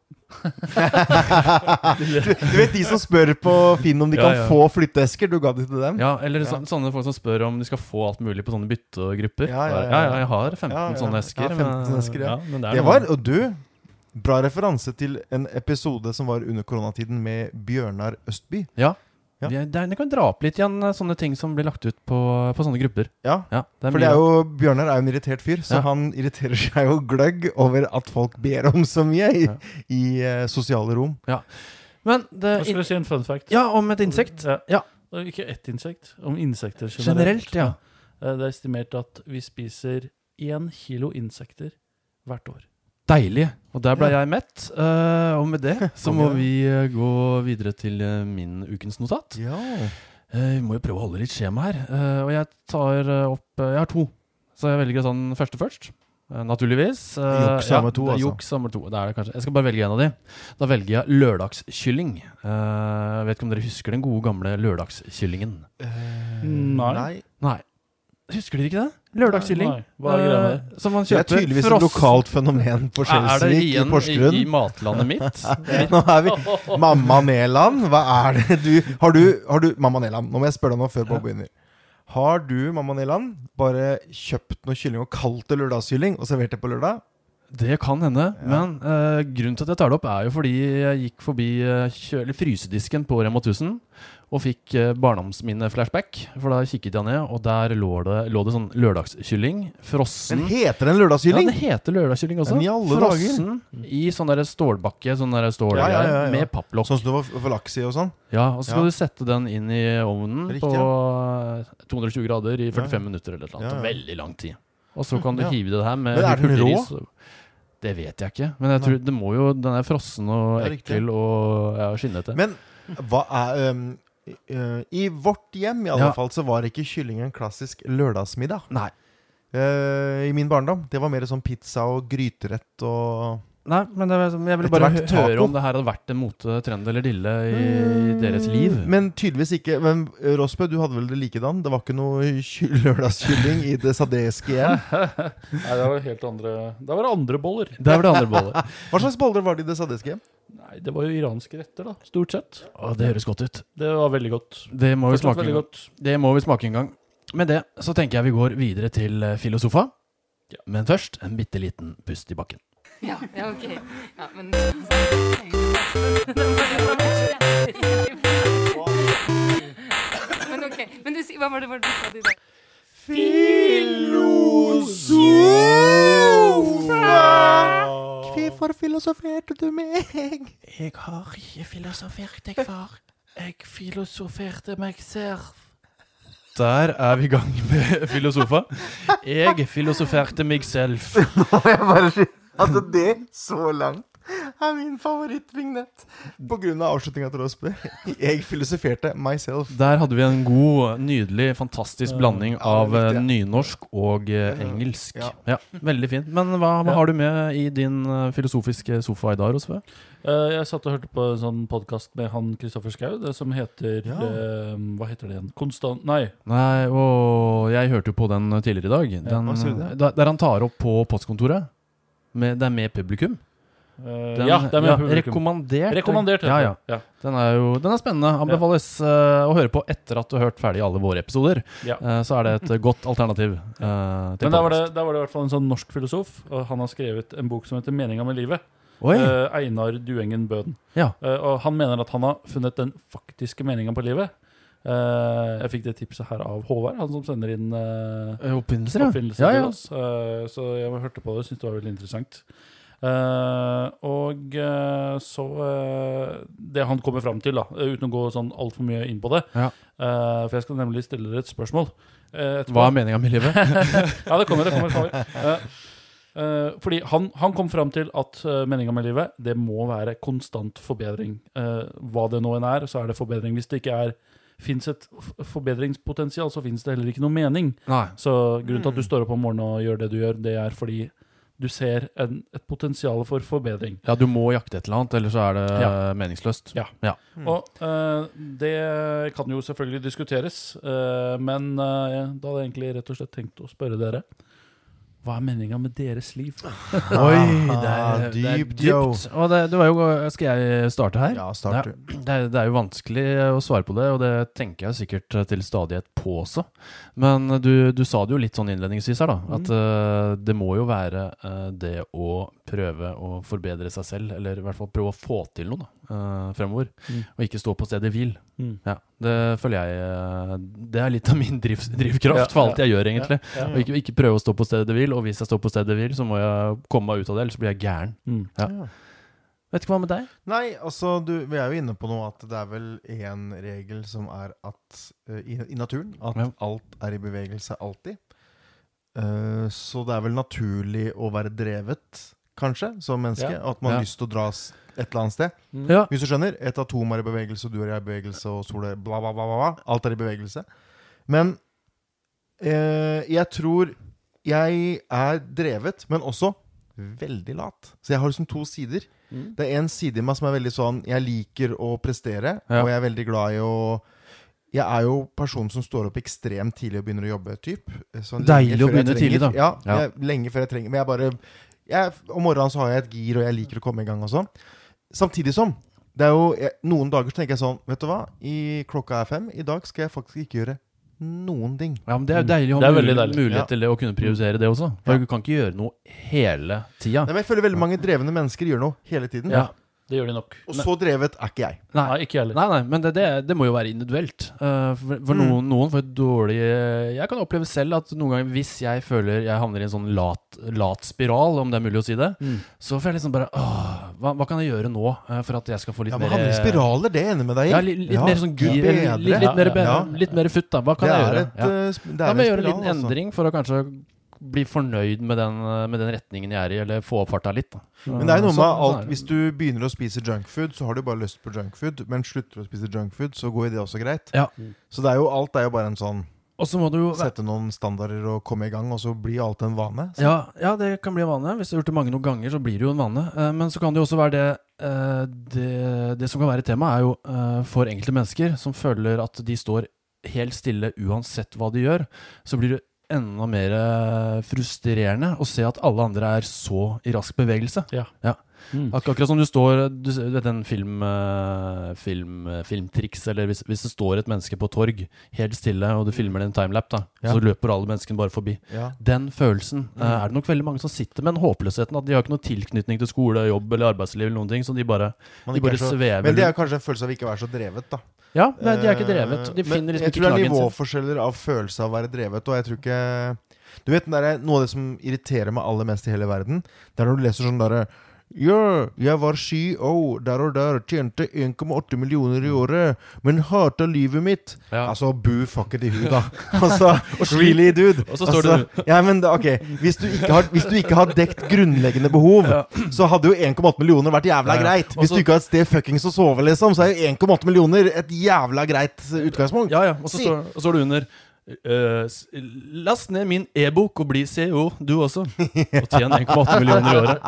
du, du vet de som spør på Finn om de Ja, kan ja. få flytteesker? Du ga de til dem? Ja, Eller så, sånne folk som spør om de skal få alt mulig på sånne byttegrupper. Ja, ja, ja, ja. jeg har 15 Ja, ja. sånne esker. Ja, 15 esker, ja. men det er Det noe- var, og du Bra referanse til en episode som var under koronatiden med Bjørnar Østby. Ja. Vi er- det er- det kan dra opp litt igjen eh, sånne ting som blir lagt ut på, på sånne grupper. Ja, Ja, det er For det mye- er jo, Bjørnar er jo en irritert fyr, så Ja. han irriterer seg jo gløgg over at folk ber om så mye i, Ja. i eh, sosiale rom. Men det, Hva skulle jeg si en fun fact? Eh, Ja, om et insekt. Ja. Ja. Det er Ikke ett insekt, om insekter generelt. Generelt, ja. Eh, Det er estimert at vi spiser én kilo insekter hvert år. Deilig. Og der ble jeg mett. Eh, og [LAUGHS] med det så må Konge. vi eh, gå videre til eh, min ukens notat. Ja. Eh, vi må jo prøve å holde litt skjema her. Eh, og jeg tar eh, opp eh, Jeg har to, så jeg velger sånn første først. Eh, naturligvis. Eh, Juks sammen med to, det er altså. Juks sammen med to. Det er det kanskje. Jeg skal bare velge en av de. Da velger jeg lørdagskylling. Eh, jeg vet ikke om dere husker den gode gamle lørdagskyllingen. Nei. Nei. Husker dere ikke det? Lørdagskylling. Nei, Hva er greia med det? Eh, som man Det er kjøper tydeligvis frossen. et lokalt fenomen på Er det Skjelsvik i igjen Porsgrunn. i, i matlandet mitt? [LAUGHS] [LAUGHS] Nå er vi Mamma Neland, hva er det du Har du, har du Mamma Neland, nå må jeg spørre deg noe før Bob begynner. Har du Mamma Neland bare kjøpt noe kylling og kalt det lørdagskylling og servert det på lørdag? Det kan hende, Ja. men eh, grunnen til at jeg tar det opp, er jo fordi jeg gikk forbi eh, kjø- eller frysedisken på Rema 1000 og fikk uh, barndomsminne-flashback. For da kikket jeg ned, og der lå det, lå det sånn lørdagskylling. Frossen. Men heter den Mm. Ja, lørdagskylling? den heter lørdagskylling også. Men i alle Frossen i sånn der stålbakke, sånn der stål Ja, ja, ja, ja. med papplokk. Sånn som det var for laks i og sånn? Ja, og så skal Ja. du sette den inn i ovnen Riktig, på eh, 220 grader i Ja, 45 ja. minutter eller noe. Ja, ja. Veldig lang tid. Og så kan du Ja. hive det her med Men er den hurtigris rå? og- Det vet jeg ikke. Men jeg tror det må jo, den er frossen og Ja, riktig. ekkel og ja, skinnete. Men hva er øhm, øh, I vårt hjem i alle Ja. fall så var ikke kylling en klassisk lørdagsmiddag. Nei. Eh, I min barndom. Det var mer sånn pizza og gryterett og Nei, men det, var som- jeg ville Etter bare hø hvert taco. Mm. høre om det her hadde vært en mote, trend eller dille i deres liv. Men tydeligvis ikke. Men eh, Rosbø, du hadde vel det likedan? Det var ikke noe ky- [LAUGHS] lørdagskylling i det sadeske hjem? Nei, det var helt andre Det var andre boller. Der var det andre bollet. Hva slags boller var det i det sadeske hjem? Nei, det var jo iranske retter, da. Stort sett. Å, det høres godt ut. Det var veldig godt. Det må vi Fortsatt smake. en veldig gang. godt. Det må vi smake en gang. Med det så tenker jeg vi går videre til eh, Filosofa. Ja. Men først en bitte liten pust i bakken. Ja, ja, ok. Ja, men Men ok. Men du, si- hva var det hva var det du sa du der? Filosofa! Hvorfor filosoferte du [LAUGHS] meg? Jeg har ikke filosofert, jeg, far. Jeg filosoferte meg selv. Der er vi i gang med Filosofa. Jeg filosoferte meg selv. [LAUGHS] Jeg bare sier Altså, det så langt er min favorittvignett. På grunn av avslutninga til Rosby. [LAUGHS] Jeg filosoferte myself. Der hadde vi en god, nydelig, fantastisk blanding Ja, av det er eh, viktig. nynorsk og eh, engelsk. Ja. Ja, Veldig fint. Men hva, Ja. hva har du med i din eh, filosofiske sofa i dag, Rosve? Eh, jeg satt og hørte på en sånn podkast med han Kristoffer Schau, det som heter Ja. eh, Hva heter det igjen? Konstant Nei. eh, Nei, og jeg hørte jo på den tidligere i dag. Den, hva sier du? der, der han tar opp på postkontoret. Med, det er med publikum. eh, Den- ja, det er med ja, publikum. Rekommandert. Rekommandert. heter Ja, ja. det. ja. Den er jo den er spennende. Anbefales eh, å høre på etter at du har hørt ferdig alle våre episoder. Ja. Eh, så er det et godt alternativ. eh, til Men der var, det, podcast. der var det i hvert fall en sånn norsk filosof, og han har skrevet en bok som heter 'Meninga med livet'. Oi! Eh, Einar Duengen Bøden. Ja. Eh, og han mener at han har funnet den faktiske meninga på livet. Eh, jeg fikk det tipset her av Håvard, han som sender inn eh, Eh, Oppfinnelser, ja. oppfinnelser ja, til ja. oss. Eh, så jeg hørte på det og syntes det var veldig interessant. Eh, og eh, så eh, Det han kommer fram til, da, eh, uten å gå sånn altfor mye inn på det Ja. Eh, For jeg skal nemlig stille dere et spørsmål. eh, etterpå. [LAUGHS] Hva er meninga med livet? Ja, det kommer, det kommer. det kommer. Eh, eh, fordi han, han kom fram til at uh, meninga med livet, det må være konstant forbedring. Eh, hva det nå enn er, så er det forbedring. Hvis det ikke er fins et f- forbedringspotensial, så fins det heller ikke noe mening. [LAUGHS] Nei. Så grunnen til at du står opp om morgenen og gjør det du gjør, det er fordi du ser en, et potensial for forbedring. Ja, du må jakte et eller annet, eller så er det Ja. eh, meningsløst. Ja. ja. Og eh, det kan jo selvfølgelig diskuteres, eh, men eh, da hadde jeg egentlig rett og slett tenkt å spørre dere. Hva er meninga med deres liv? Oi, det er, Ah, det er dypt, dypt. yo. Og det, det var jo, skal jeg starte her? Ja, start, du. Det er, det er jo vanskelig å svare på det, og det tenker jeg sikkert til stadighet på også. Men du, du sa det jo litt sånn innledningsvis her, da. At eh, det må jo være eh, det å prøve å forbedre seg selv, eller i hvert fall prøve å få til noe da, eh, fremover. Mm. Og ikke stå på stedet hvil. Mm. Ja, det føler jeg eh, Det er litt av min drivs, drivkraft Ja, for alt ja. jeg gjør, egentlig. Ja, Og ikke, ikke prøve å stå på stedet hvil, og hvis jeg står på stedet hvil, så må jeg komme meg ut av det, ellers blir jeg gæren. Mm. Ja. Vet ikke hva med deg? Nei, altså, du, vi er jo inne på noe at det er vel én regel som er at eh, i, i naturen at Ja. alt er i bevegelse alltid. Eh, så det er vel naturlig å være drevet, kanskje, som menneske. Ja. At man har Ja. lyst til å dras et eller annet sted. Mm. Ja. Hvis du skjønner, et atom er i bevegelse, og du er i bevegelse, og sola er bla, bla, bla, bla, bla. Alt er i bevegelse. Men eh, jeg tror jeg er drevet, men også veldig lat. Så jeg har liksom to sider. Mm. Det er en side i meg som er veldig sånn Jeg liker å prestere, Ja. og jeg er veldig glad i å jeg er jo personen som står opp ekstremt tidlig og begynner å jobbe. Typ. Så lenge Deilig å før jeg begynne tidlig, da. trenger- Ja, Ja. Jeg, lenge før jeg trenger. Men jeg bare jeg, Om morgenen så har jeg et gir, og jeg liker å komme i gang og sånn. Samtidig som det er jo, jeg, Noen dager så tenker jeg sånn Vet du hva, I klokka er fem. I dag skal jeg faktisk ikke gjøre noen ting. Ja, men Det er jo deilig å ha Det er veldig mul- deilig. mulighet Ja. til det å kunne prioritere det også. For Ja. Du kan ikke gjøre noe hele tida. Nei, men jeg føler veldig mange drevne mennesker gjør noe hele tiden. Ja, det gjør de nok. Og så drevet er ikke jeg. Nei, Nei. ikke jeg heller. Nei, nei, men det, det, det må jo være individuelt. Eh, for for noen, noen får et dårlig eh, Jeg kan oppleve selv at noen ganger hvis jeg føler jeg havner i en sånn lat, lat spiral, om det er mulig å si det, Mm. så får jeg liksom bare åh, hva, hva kan jeg gjøre nå eh, for at jeg skal få litt Ja, men mer eh, handler i spiraler, det er jeg enig med deg i. Ja, litt, litt mer sånn gud, bedre. litt, litt, litt, mer, be- Ja. litt mer futt, da. Hva kan det er jeg gjøre? et, Ja. eh, sp- det Ja, er men en gjøre en liten spiral, altså. endring for å kanskje bli fornøyd med den, eh, med den retningen jeg er i, eller få opp farta litt. Da. Men det er jo noe Så- med sånn er alt det. Hvis du begynner å spise junkfood, så har du bare lyst på junkfood. Men slutter du å spise junkfood, så går jo det også greit. Ja. Så det er jo, alt er jo bare en sånn Og så må du jo sette noen standarder og komme i gang, og så blir alt en vane. Så, ja, ja, det kan bli en vane. Hvis du har gjort det mange nok ganger, så blir det jo en vane. Eh, Men så kan det jo også være det eh, Det, det som kan være et tema, er jo eh, for enkelte mennesker som føler at de står helt stille uansett hva de gjør, så blir det enda mer eh, frustrerende å se at alle andre er så i rask bevegelse. Ja. Ja. Mm. Ak akkurat som du står Du s- vet en film, eh, film eh, filmtriks, eller hvis, hvis det står et menneske på torg helt stille, og du filmer det i en timelap, da, Ja. så løper alle menneskene bare forbi. ja. Den følelsen Mm. eh, er det nok veldig mange som sitter med, den håpløsheten at de har ikke noe tilknytning til skole, jobb eller arbeidsliv eller noen ting, så de bare, Man de ikke er bare så, svever men det er rundt. kanskje en følelse av ikke å være så drevet, da. Ja, nei, de er ikke drevet. Eh, De men finner liksom jeg ikke tror det er knaggen sin. nivåforskjeller av følelse av å være drevet, og jeg tror ikke Du vet, den der, noe av det som irriterer meg aller mest i hele verden, det er når du leser sånn derre Ja, jeg var CEO der og der, tjente 1,8 millioner i året, men hata livet mitt. Ja. Altså, boo fucket i huet, da. [LAUGHS] Altså, really, dude. Og så står det altså, ja, men, da- ok, hvis du, ikke har, hvis du ikke har dekt grunnleggende behov, så hadde jo 1,8 millioner vært jævla Ja, ja. greit. Hvis Også- du ikke har et sted fuckings å sove, liksom, så er jo 1,8 millioner et jævla greit eh, utgangspunkt. Ja, ja. Og så Si. står, og så står det under eh, s- Last ned min e-bok og bli CEO, du også. Og tjen 1,8 millioner i året.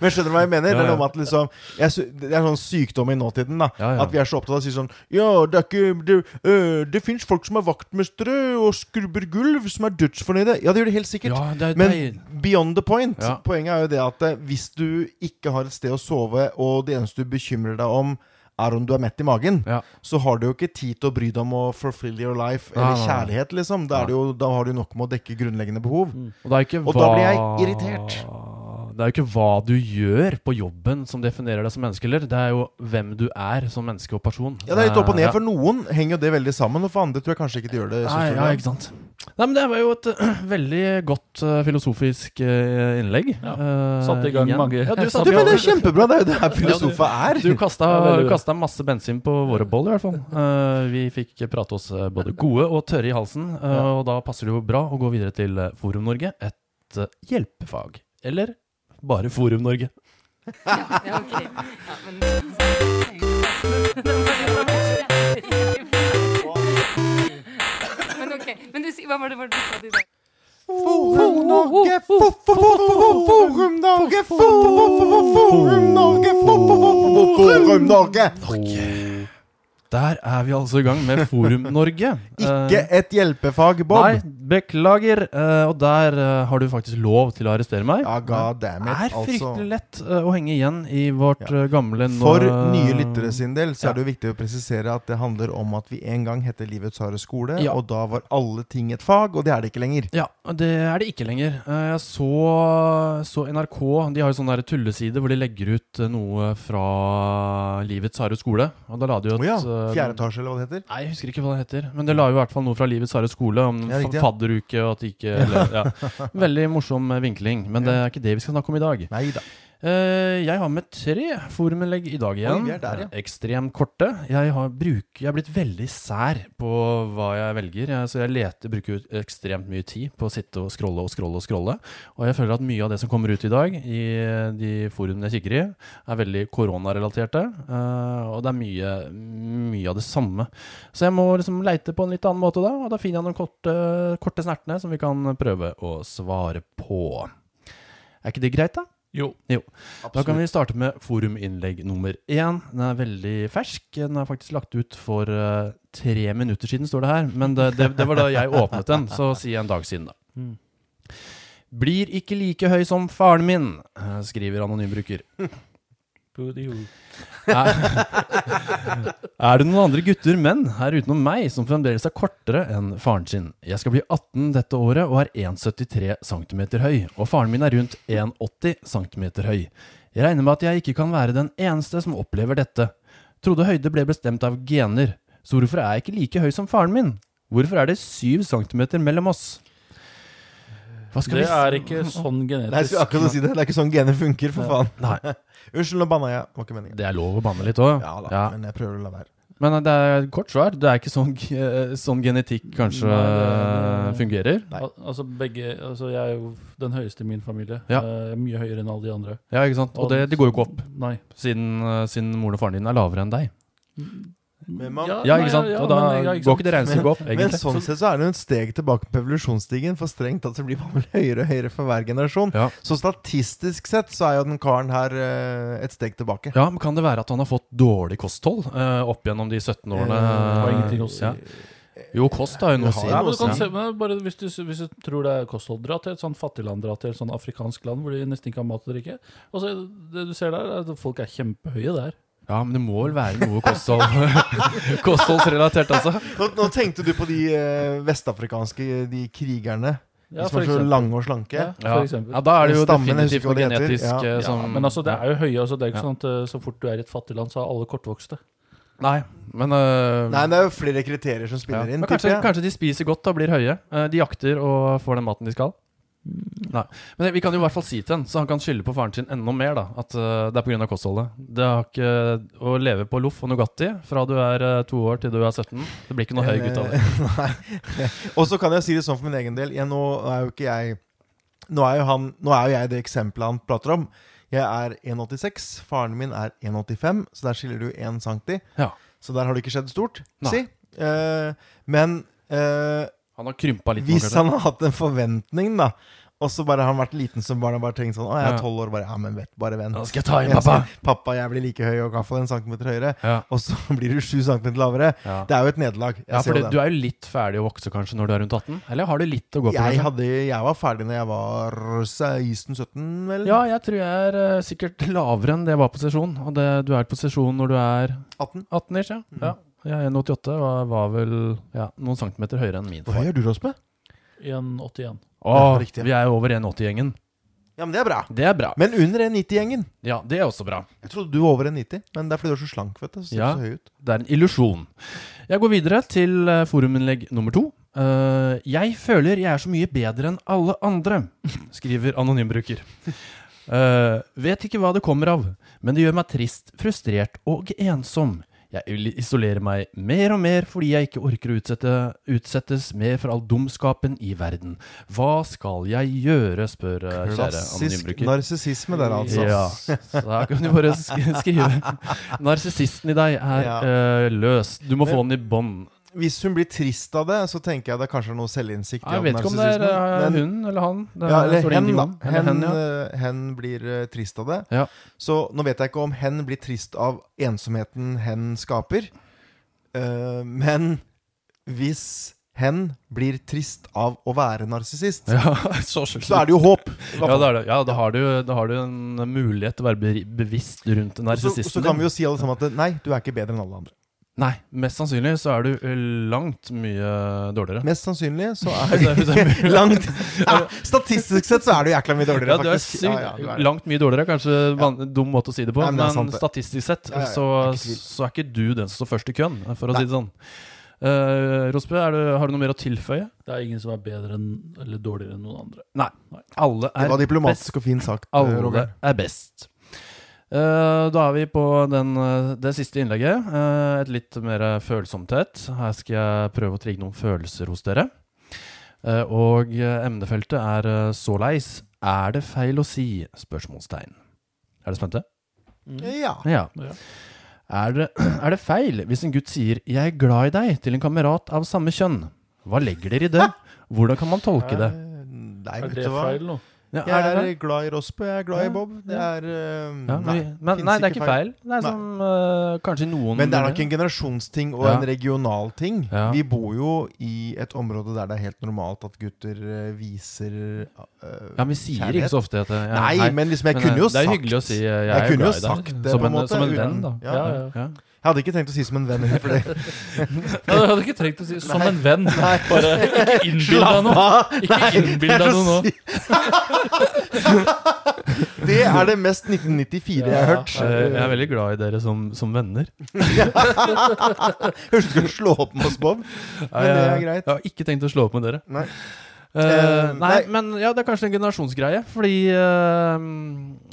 Men skjønner du hva jeg mener? Det Ja, er ja. noe med at liksom jeg, sy- Det er sånn sykdom i nåtiden. da Ja, ja. At vi er så opptatt av å si sånn Ja, det er ikke Det, øh, det fins folk som er vaktmestere og skrubber gulv, som er dødsfornøyde. Ja, det gjør det helt sikkert. Ja, det er Men beyond the point. Ja. Poenget er jo det at eh, hvis du ikke har et sted å sove, og det eneste du bekymrer deg om, er om du er mett i magen, Ja. så har du jo ikke tid til å bry deg om å fulfill your life Nei, eller nei, nei. kjærlighet, liksom. Da, er det jo, da har du nok med å dekke grunnleggende behov. Og, det er ikke Og da blir jeg hva- irritert. Det er jo ikke hva du gjør på jobben som definerer deg som menneske, eller. Det er jo hvem du er som menneske og person. Eh, Ja, det er litt opp og ned. Ja. For noen henger jo det veldig sammen, og for andre tror jeg kanskje ikke det gjør det. Eh, så Nei, stor ja, grad. ikke sant. Nei, men Det var jo et eh, [CLEARS THROAT] veldig godt eh, filosofisk eh, innlegg. Ja, Eh, satte i gang igjen. mange- Ja, du Du, satte i men det gang. er kjempebra! Det er jo det her filosofer er. [LAUGHS] Du kasta, Ja, veldig du bra. kasta masse bensin på våre boll, i hvert fall. Eh, vi fikk prate oss eh, både gode og tørre i halsen, eh, Ja. og da passer det jo bra å gå videre til eh, Forum Norge, et eh, hjelpefag. Eller bare Forum Norge. Ja, ok. Ja, men Men ok. Men du, si- hva var det, hva var det du sa du sa? Forum Norge, fo- fo- fo- fo- fo- Forum Norge, fo- fo- fo- fo- Forum Norge, fo- fo- fo- fo- fo- Forum Norge! Oh. Der er vi altså i gang med Forum [LAUGHS] Norge. Ikke Eh, et hjelpefag, Bob. Nei, beklager. Eh, og der eh, har du faktisk lov til å arrestere meg. Ja, god damn Det it, er altså. fryktelig lett eh, å henge igjen i vårt eh, gamle nå- For nye lyttere sin del så Ja. er det jo viktig å presisere at det handler om at vi en gang hette Livets harde skole, Ja. og da var alle ting et fag, og det er det ikke lenger. Ja, det er det ikke lenger. Eh, Jeg så, så NRK De har jo sånn der tulleside hvor de legger ut eh, noe fra Livets harde skole. Og da la de jo Å et ja. eh, Fjerde etasje, eller hva det heter. Nei, jeg husker ikke hva det heter. Men det la jo i hvert fall noe fra Livets harde skole om Ja, riktig, ja. fadderuke og at de [LAUGHS] ikke eller, ja. Veldig morsom eh, vinkling. Men det er ikke det vi skal snakke om i dag. Nei da. Eh, jeg har med tre foruminnlegg i dag igjen. Oi, vi er der, ja. Eh, Ekstremt korte. Jeg har, bruk, jeg har blitt veldig sær på hva jeg velger. Jeg, så jeg leter, bruker ut ekstremt mye tid på å sitte og scrolle og scrolle og scrolle. Og jeg føler at mye av det som kommer ut i dag, i eh, de forumene jeg kikker i, er veldig koronarelaterte. eh, og det er mye, mye av det samme. Så jeg må liksom leite på en litt annen måte da, og da finner jeg noen korte, korte snertene som vi kan prøve å svare på. Er ikke det greit, da? Jo. Da kan vi starte med foruminnlegg nummer én. Den er veldig fersk. Den er faktisk lagt ut for eh, tre minutter siden, står det her. Men det, det, det var da jeg åpnet den, så si en dag siden, da. Mm. Blir ikke like høy som faren min, eh, skriver anonym bruker. Er, er det noen andre gutter, menn, her utenom meg, som fremdeles er kortere enn faren sin? Jeg skal bli 18 dette året og er 1,73 cm høy, og faren min er rundt 1,80 cm høy. Jeg regner med at jeg ikke kan være den eneste som opplever dette. Trodde høyde ble bestemt av gener, så hvorfor er jeg ikke like høy som faren min? Hvorfor er det 7 cm mellom oss? Hva Det si- er ikke [LAUGHS] sånn Nei, jeg skulle genetisk. akkurat si det. Det er ikke sånn gener funker, for faen. Nei, [LAUGHS] Unnskyld, nå banna jeg. Det var ikke meningen. det er lov å banne litt òg. Ja da, men jeg prøver å la være. Men det er kort svar. Det er ikke sånn, ge- sånn genetikk kanskje Nei, det- fungerer. Nei. Al altså begge, altså Jeg er jo den høyeste i min familie. Ja. Eh, Jeg er mye høyere enn alle de andre. Ja, ikke sant? Og det, det går jo ikke opp, Nei. siden, eh, siden moren og faren din er lavere enn deg. Men, man, Ja, nei, ikke sant? ja, Og da men, ja, ikke sant? går ikke det regnestykket opp, men egentlig. sånn sett så er det jo et steg tilbake på evolusjonsstigen, for strengt tatt så blir man vel høyere og høyere for hver generasjon. Ja. Så statistisk sett så er jo den karen her eh, et steg tilbake. Ja, men Kan det være at han har fått dårlig kosthold eh, opp gjennom de 17 årene? Det har ingenting å si. Ja. Jo, kost har jo noe å Det si. Nei, har men du kan også, se, men bare hvis, du, hvis du tror det er kosthold, dra til et sånt fattigland, dra til et sånt afrikansk land hvor de nesten ikke har mat og drikke. Og så Det du ser der, er at folk er kjempehøye der. Ja, men det må vel være noe kosthold [LAUGHS] kostholdsrelatert, altså. Nå, nå tenkte du på de eh, vestafrikanske eh, de krigerne. Ja, de for som er så eksempel. lange og slanke. Ja, Ja. for eksempel. ja, Da er det jo Stammen, jeg definitivt husker ikke noe hva det genetisk heter. Ja. eh, Ja, som men altså, det er jo høye. Altså, det er jo ikke Ja. sånn at eh, så fort du er i et fattig land, så er alle kortvokste. Nei, men eh, Nei, det er jo flere kriterier som ja. spiller inn. men kanskje, tipper jeg. kanskje de spiser godt og blir høye. Eh, De jakter og får den maten de skal. Men vi kan jo i hvert fall si til han, så han kan skylde på faren sin enda mer, da. At eh, det er pga. kostholdet. Det har ikke Å leve på loff og Nugatti fra du er eh, to år til du er 17, det blir ikke noe høy gutt av det. Eh, [LAUGHS] Nei. Og så kan jeg si det sånn for min egen del. Jeg, nå er jo ikke jeg Nå er jo, han, nå er jo jeg det eksempelet han prater om. Jeg er 1,86. Faren min er 1,85, så der skiller du 1 cm. Ja. Så der har det ikke skjedd stort, Nei. si. Eh, men eh, Han har krympa litt. nå, hvis kanskje. han har hatt en forventning, da og så bare har han vært liten som barn og bare tenkt sånn Å, jeg Ja. er tolv år, bare Ja, men vet, bare vent. Da skal jeg ta i, Jeg pappa. skal- Pappa, jeg blir like høy og i hvert fall en centimeter høyere. Ja. Og så [LAUGHS] blir du sju centimeter lavere. Ja. Det er jo et nederlag. Jeg Ja, ser jo fordi den. du er jo litt ferdig å vokse kanskje når du er rundt 18? Eller har du litt å gå på? Jeg, liksom. kanskje? hadde, jeg var ferdig når jeg var 16-17, vel? Ja, jeg tror jeg er eh, sikkert lavere enn det jeg var på sesjon. Og det, du er på sesjon når du er 18. 18 ish, ja. Mm. ja. Jeg er 1,88 og jeg var vel ja, noen centimeter høyere enn min Hva far. gjør du, Rosme? 1,81. Åh, Ja, riktig. vi er jo over 1,80-gjengen. Ja, men det er bra. Det er bra. Men under 1,90-gjengen. Ja, det er også bra. Jeg trodde du var over 1,90, men det er fordi du er så slank. vet du Så ser Ja. du så høy ut Det er en illusjon. Jeg går videre til eh, foruminnlegg nummer to. Eh, jeg føler jeg er så mye bedre enn alle andre, skriver anonym bruker. Eh, vet ikke hva det kommer av, men det gjør meg trist, frustrert og ensom. Jeg vil isolere meg mer og mer fordi jeg ikke orker å utsette, utsettes mer for all dumskapen i verden. Hva skal jeg gjøre, spør eh, kjære anonym Klassisk bruker. narsissisme der, altså. Ja, så da kan du bare sk- skrive Narsissisten i deg er Ja. eh, løs. Du må Men- få den i bånd. Hvis hun blir trist av det, så tenker jeg det kanskje er noe selvinnsikt. i Jeg vet ikke om det er eh, narsissismen, men- hun eller han. Det Ja, eller står det hen, ingenting da. om. Eller Hen, hen, ja. eh, hen blir eh, trist av det. Ja. Så nå vet jeg ikke om hen blir trist av ensomheten hen skaper. Eh, men hvis hen blir trist av å være narsissist, [LAUGHS] Ja, så så er det jo håp. ja, da, er det, ja da, har du, da har du en mulighet til å være be- bevisst rundt Så, narsissisten. så kan din. vi jo si alle sammen at nei, du er ikke bedre enn alle andre. Nei, mest sannsynlig så er du eh, langt mye dårligere. Mest sannsynlig [LAUGHS] så er Hvis det er mulig. du [LAUGHS] langt ja, Statistisk sett så er du jækla mye dårligere, Ja, du er faktisk. sykt langt mye dårligere. Kanskje van- dum måte å si det på, Nei, men det er sant, men, det. statistisk sett Ja, ja, ja, Så, det er ikke tvil. så er ikke du den som står først i køen, for å Nei. si det sånn. Eh, Rosbø, er du, har du noe mer å tilføye? Det er ingen som er bedre enn, eller dårligere enn noen andre. Alle Det var er, diplomatisk og fint sagt, eh, alle Roger. er best. Eh, da er vi på den, eh, det siste innlegget. Eh, et litt mer følsomt et. Her skal jeg prøve å trigge noen følelser hos dere. Eh, og eh, emnefeltet er eh, såleis. Er det feil å si? Spørsmålstegn. Er dere spente? Ja. Ja. Ja. Er, det, [CLEARS THROAT] er det feil hvis en gutt sier 'jeg er glad i deg' til en kamerat av samme kjønn? Hva legger dere i det? Hvordan kan man tolke [LAUGHS] det? Eh, Nei, Er vet det du hva. feil nå? Ja, Jeg er er, det det? glad i Rospe, jeg er glad Ja, i Bob. Det ja. er eh, Ja, nei, men, men, finnes nei, det er ikke ikke feil. Det er som øh, kanskje noen Men det er nok en generasjonsting og Ja. en regional ting. Ja. Vi bor jo i et område der det er helt normalt at gutter eh, viser eh, Ja, men vi sier kjærlighet. ikke så ofte at jeg, Nei, men liksom, jeg men, kunne jo øh, Det er sagt hyggelig å si øh, jeg, Jeg er kunne jo glad i deg. sagt det, som på en en, måte, Som en uten- venn, da. Ja, Ja, Ja, ja. ja. Jeg hadde ikke tenkt å si som en venn. heller, For [LAUGHS] det. Ja, du hadde ikke trengt å [LAUGHS] si 'som en venn'. Bare ikke innbill deg noe. Slapp av! Ikke innbill deg noe nå. Det er det mest 1994 eh, jeg har Ja. hørt. Øh, Jeg er veldig glad i dere som, som venner. Høres ut som du skal slå opp med oss, Bob. [LAUGHS] Men det er Jeg, jeg greit. har ikke tenkt å slå opp med dere. Nei. Eh, Eh, nei, nei. men ja, det er kanskje en generasjonsgreie. Fordi eh,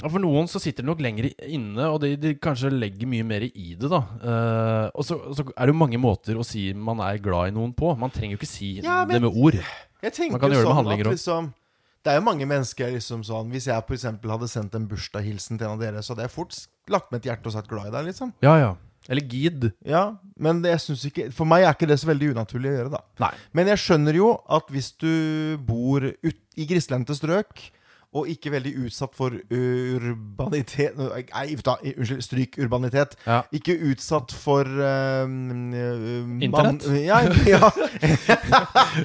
For noen så sitter det nok lenger inne, og de, de kanskje legger mye mer i det. da Eh, Og så, så er det jo mange måter å si man er glad i noen på. Man trenger jo ikke si Ja, men- det med ord. Jeg tenker Man kan jo gjøre det med sånn handlinger at også. liksom, Det er jo mange mennesker liksom sånn Hvis jeg for eksempel hadde sendt en bursdagshilsen til en av dere, så hadde jeg fort lagt med et hjerte og sagt glad i deg, liksom. Ja, ja. Eller gid. Ja, men det, jeg synes ikke, for meg er ikke det så veldig unaturlig å gjøre, da. Nei. Men jeg skjønner jo at hvis du bor ut, i grislendte strøk og ikke veldig utsatt for urbanitet Nei, da, unnskyld, stryk urbanitet. Ja. Ikke utsatt for eh, eh, Internett? mann- Ja, ja,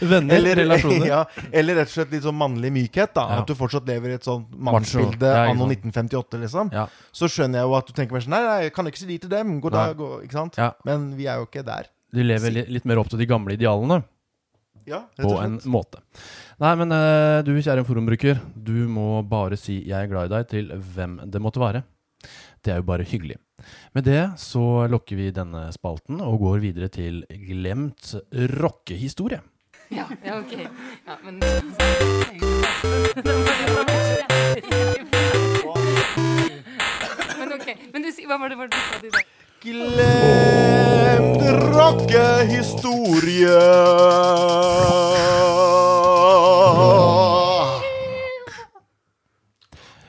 Venner, eller, relasjoner. [LAUGHS] ja, eller rett og slett litt sånn mannlig mykhet. da Ja. At du fortsatt lever i et sånt Macho. mannsbilde Ja, ikke anno sant. 1958, liksom. Ja. Så skjønner jeg jo at du tenker mer sånn Nei, nei jeg kan ikke si de til dem. God Nei. dag, og, ikke sant? Ja. Men vi er jo ikke der. Du lever li litt mer opp til de gamle idealene, Ja, rett på og en slett. måte. Nei, men eh, du kjære forumbruker, du må bare si 'jeg er glad i deg' til hvem det måtte være. Det er jo bare hyggelig. Med det så lokker vi denne spalten og går videre til glemt rockehistorie. Ja, ja, ok. Ja, men Men ok, men du, sier- hva var det var det du sa du sa? Glemt rockehistorie.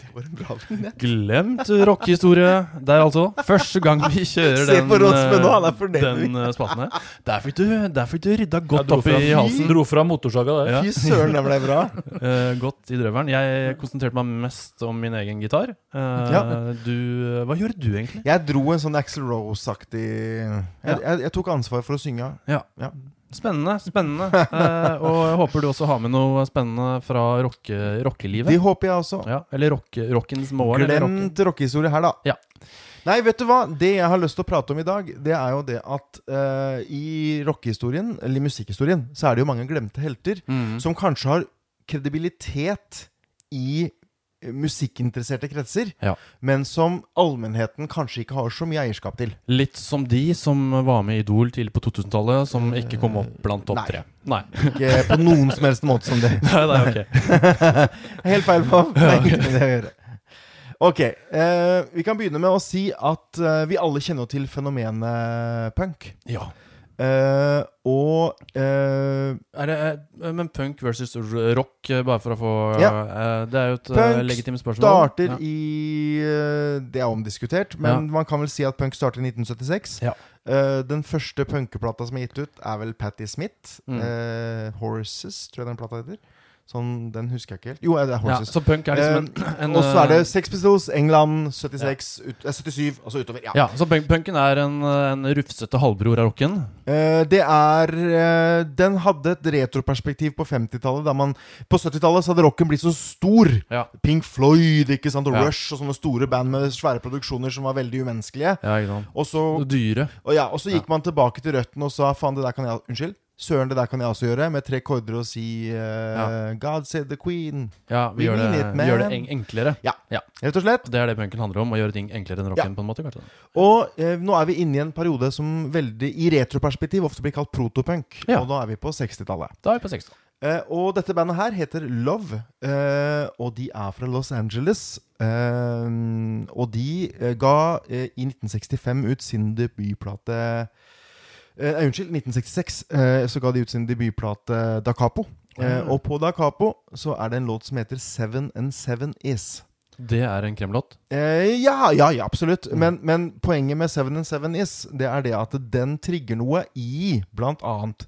Det var en bra vignett. Glemt rockehistorie der, altså. Første gang vi [LAUGHS] kjører Se den, på Rosmen nå, han er eh, fornøyd. den eh, spalten her. Der fikk du, der fikk du rydda Jeg godt dro opp i fra, halsen. dro fra motorsaga der. Ja. Fy søren, det ble bra. Eh, godt i drøvelen. Jeg konsentrerte meg mest om min egen gitar. Eh, Ja. Du Hva gjorde du, egentlig? Jeg dro en sånn Axel Rose-aktig jeg, Ja. jeg, jeg tok ansvar for å synge. Ja. Ja. Spennende. spennende Eh, Og jeg håper du også har med noe spennende fra rocke, rockelivet. Det håper jeg også. Ja, eller rocke, rockens morgen. eller rocken. Glemt rockehistorie her, da. Ja. Nei, vet du hva? Det jeg har lyst til å prate om i dag, det er jo det at eh, i rockehistorien, eller i musikkhistorien, så er det jo mange glemte helter Mm. som kanskje har kredibilitet i eh, musikkinteresserte kretser, Ja. men som allmennheten kanskje ikke har så mye eierskap til. Litt som de som var med i Idol tidlig på 2000-tallet, som ikke kom opp blant topp Nei. tre. Nei. [LAUGHS] Ikke på noen som helst måte som det. Nei, nei, [LAUGHS] ok. Helt feil, [LAUGHS] Pav. Det har ingenting med det å gjøre. Ok, eh, vi kan begynne med å si at eh, vi alle kjenner jo til fenomenet punk. Ja. Eh, og eh, Er det, eh, men punk versus r- rock, eh, bare for å få eh, eh, Det er jo et eh, Punk legitimt spørsmål. starter Ja. i eh, Det er omdiskutert, men Ja. man kan vel si at punk starter i 1976. Ja. Eh, den første punkeplata som er gitt ut, er vel Patti Smith. Mm. eh, 'Horses', tror jeg den plata heter. Sånn, den husker jeg ikke helt. Jo, eh, det er ja, 'Horses'. så punk er liksom en, en og så er eh, det Sex Pistols, England, 76, ut, eh, 77, og så utover. Ja. Ja, så punk, punken er en, eh, en rufsete halvbror av rocken. Eh, det er eh, Den hadde et retroperspektiv på 50-tallet. da man- På 70-tallet så hadde rocken blitt så stor. Ja. Pink Floyd ikke sant, og Ja. Rush og sånne store band med svære produksjoner som var veldig umenneskelige. Ja, ikke sant. Og så, Og dyre. og ja, og så gikk man tilbake til røttene og sa faen, det der kan jeg Unnskyld. Søren, det der kan jeg også gjøre, med tre korder og si eh, God save the queen. Ja, vi We gjør det, mean it, vi gjør det man. en enklere. Rett og slett. Det er det punken handler om, å gjøre ting enklere enn rocken, på en måte. kanskje. Og eh, nå er vi inne i en periode som veldig, i retroperspektiv ofte blir kalt protopunk. Ja. Og nå er vi på 60-tallet. Da er vi på 60. Eh, og dette bandet her heter Love, eh, og de er fra Los Angeles. Eh, og de eh, ga eh, i 1965 ut sin debutplate eh, nei, Unnskyld, 1966 eh, så ga de ut sin debutplate Da Capo. Eh, og på Da Capo så er det en låt som heter Seven and Seven Is. Det er en kremlåt. Eh, ja, ja, ja, absolutt. Men, men poenget med Seven and Seven Is Det er det at den trigger noe i blant annet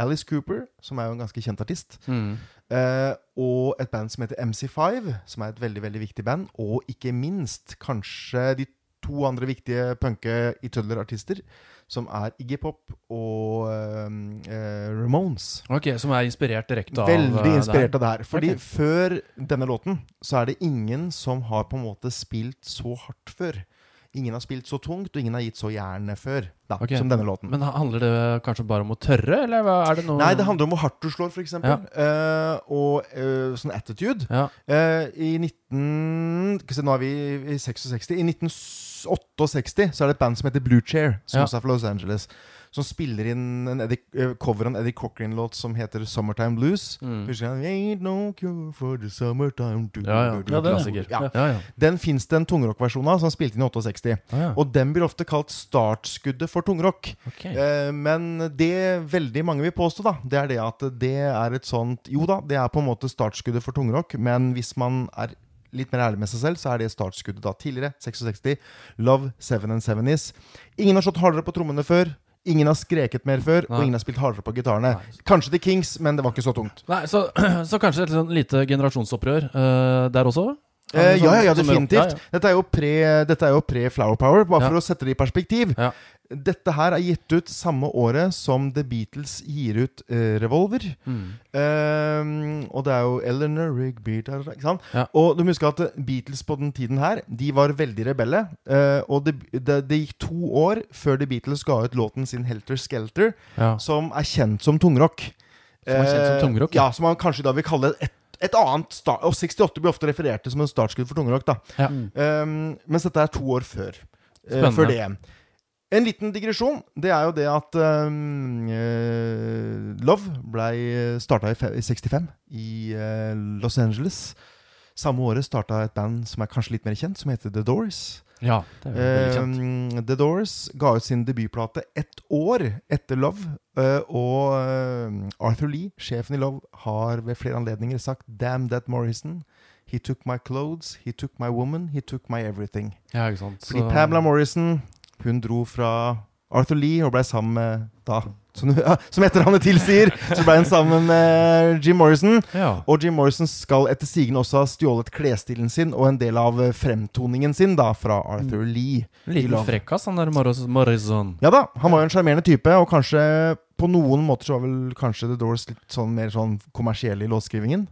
Alice Cooper, som er jo en ganske kjent artist. Mm. Eh, og et band som heter MC5, som er et veldig veldig viktig band. Og ikke minst kanskje de to andre viktige punke i Tødler-artister, som er Iggy Pop og eh, eh, Ramones. Ok, Som er inspirert direkte av Veldig eh, inspirert det her. av det her. Fordi Ok. før denne låten så er det ingen som har på en måte spilt så hardt før. Ingen har spilt så tungt, og ingen har gitt så jernet før da, Ok. som denne låten. Men handler det kanskje bare om å tørre, eller hva- er det noe Nei, det handler om hvor hardt du slår, f.eks. Ja. Eh, og eh, sånn attitude. ja. Eh, I 19... Skal vi se, nå er vi i 66. I 1968 så er det et band som heter Blue Chair, som Ja. også er fra Los Angeles. Som spiller inn en Eddie, eh, cover av en Eddie Cochran-låt som heter 'Summertime Blues'. Mm. Husker du den? Ain't no cure for the summertime du- Ja, ja. du- du- Ja, ja det er- klassiker. ja. ja, ja. Den fins det en tungrockversjon av, som han spilte inn i 68. Ah, ja. Og den blir ofte kalt startskuddet for tungrock. Ok. Eh, Men det veldig mange vil påstå, da, det er det at det er et sånt Jo da, det er på en måte startskuddet for tungrock, men hvis man er litt mer ærlig med seg selv, så er det startskuddet da tidligere. 66. Love, Seven and Seven Is. Ingen har slått hardere på trommene før. Ingen har skreket mer før, og Nei. ingen har spilt hardere på gitarene. Nei. Kanskje The Kings, men det var ikke så tungt. Nei, så, [CLEARS THROAT] så kanskje et sånn lite generasjonsopprør eh, der også? Eh, ja, ja, ja, sånn Som- som- definitivt. Dette er jo pre- Dette er jo pre-Flower Power, bare Ja. for å sette det i perspektiv. Ja. Dette her er gitt ut samme året som The Beatles gir ut eh, Revolver. Mm. Ehm, og det er jo Eleanor Rigby da, da, da, ikke sant? Ja. Og du må huske at Beatles på den tiden her De var veldig rebelle. eh, og det, det, det gikk to år før The Beatles ga ut låten sin Helter Skelter, Ja. som er kjent som tungrock. Som er kjent som Eh, tungrock, ja. ja, som man kanskje da vil kalle et, et annet start, Og 68 blir ofte referert til som en startskudd for tungrock. da Ja. Ehm, Mens dette er to år før. eh, Spennende. før det. En liten digresjon. Det er jo det at um, eh, Love blei starta i fe- i 65 i eh, Los Angeles. Samme året starta et band som er kanskje litt mer kjent, som heter The Doors. Ja, det er veldig kjent. Um, The Doors ga ut sin debutplate ett år etter Love, eh, og eh, Arthur Lee, sjefen i Love, har ved flere anledninger sagt 'Damn that Morrison'. He took my clothes, he took my woman, he took my everything. Ja, ikke sant. Fordi Så- Pamela Morrison, hun dro fra Arthur Lee og blei sammen med da Som, [LAUGHS] ja, som etternavnet tilsier, så blei hun sammen med Jim Morrison. Ja. Og Jim Morrison skal etter sigende også ha stjålet klesstilen sin og en del av eh, fremtoningen sin da fra Arthur Mm. Lee. En liten Love. frekkas, han der Morris- Morrison. Ja da, han var jo en sjarmerende type, og kanskje på noen måter så var vel kanskje The Doors litt sånn mer sånn kommersielle i låtskrivingen.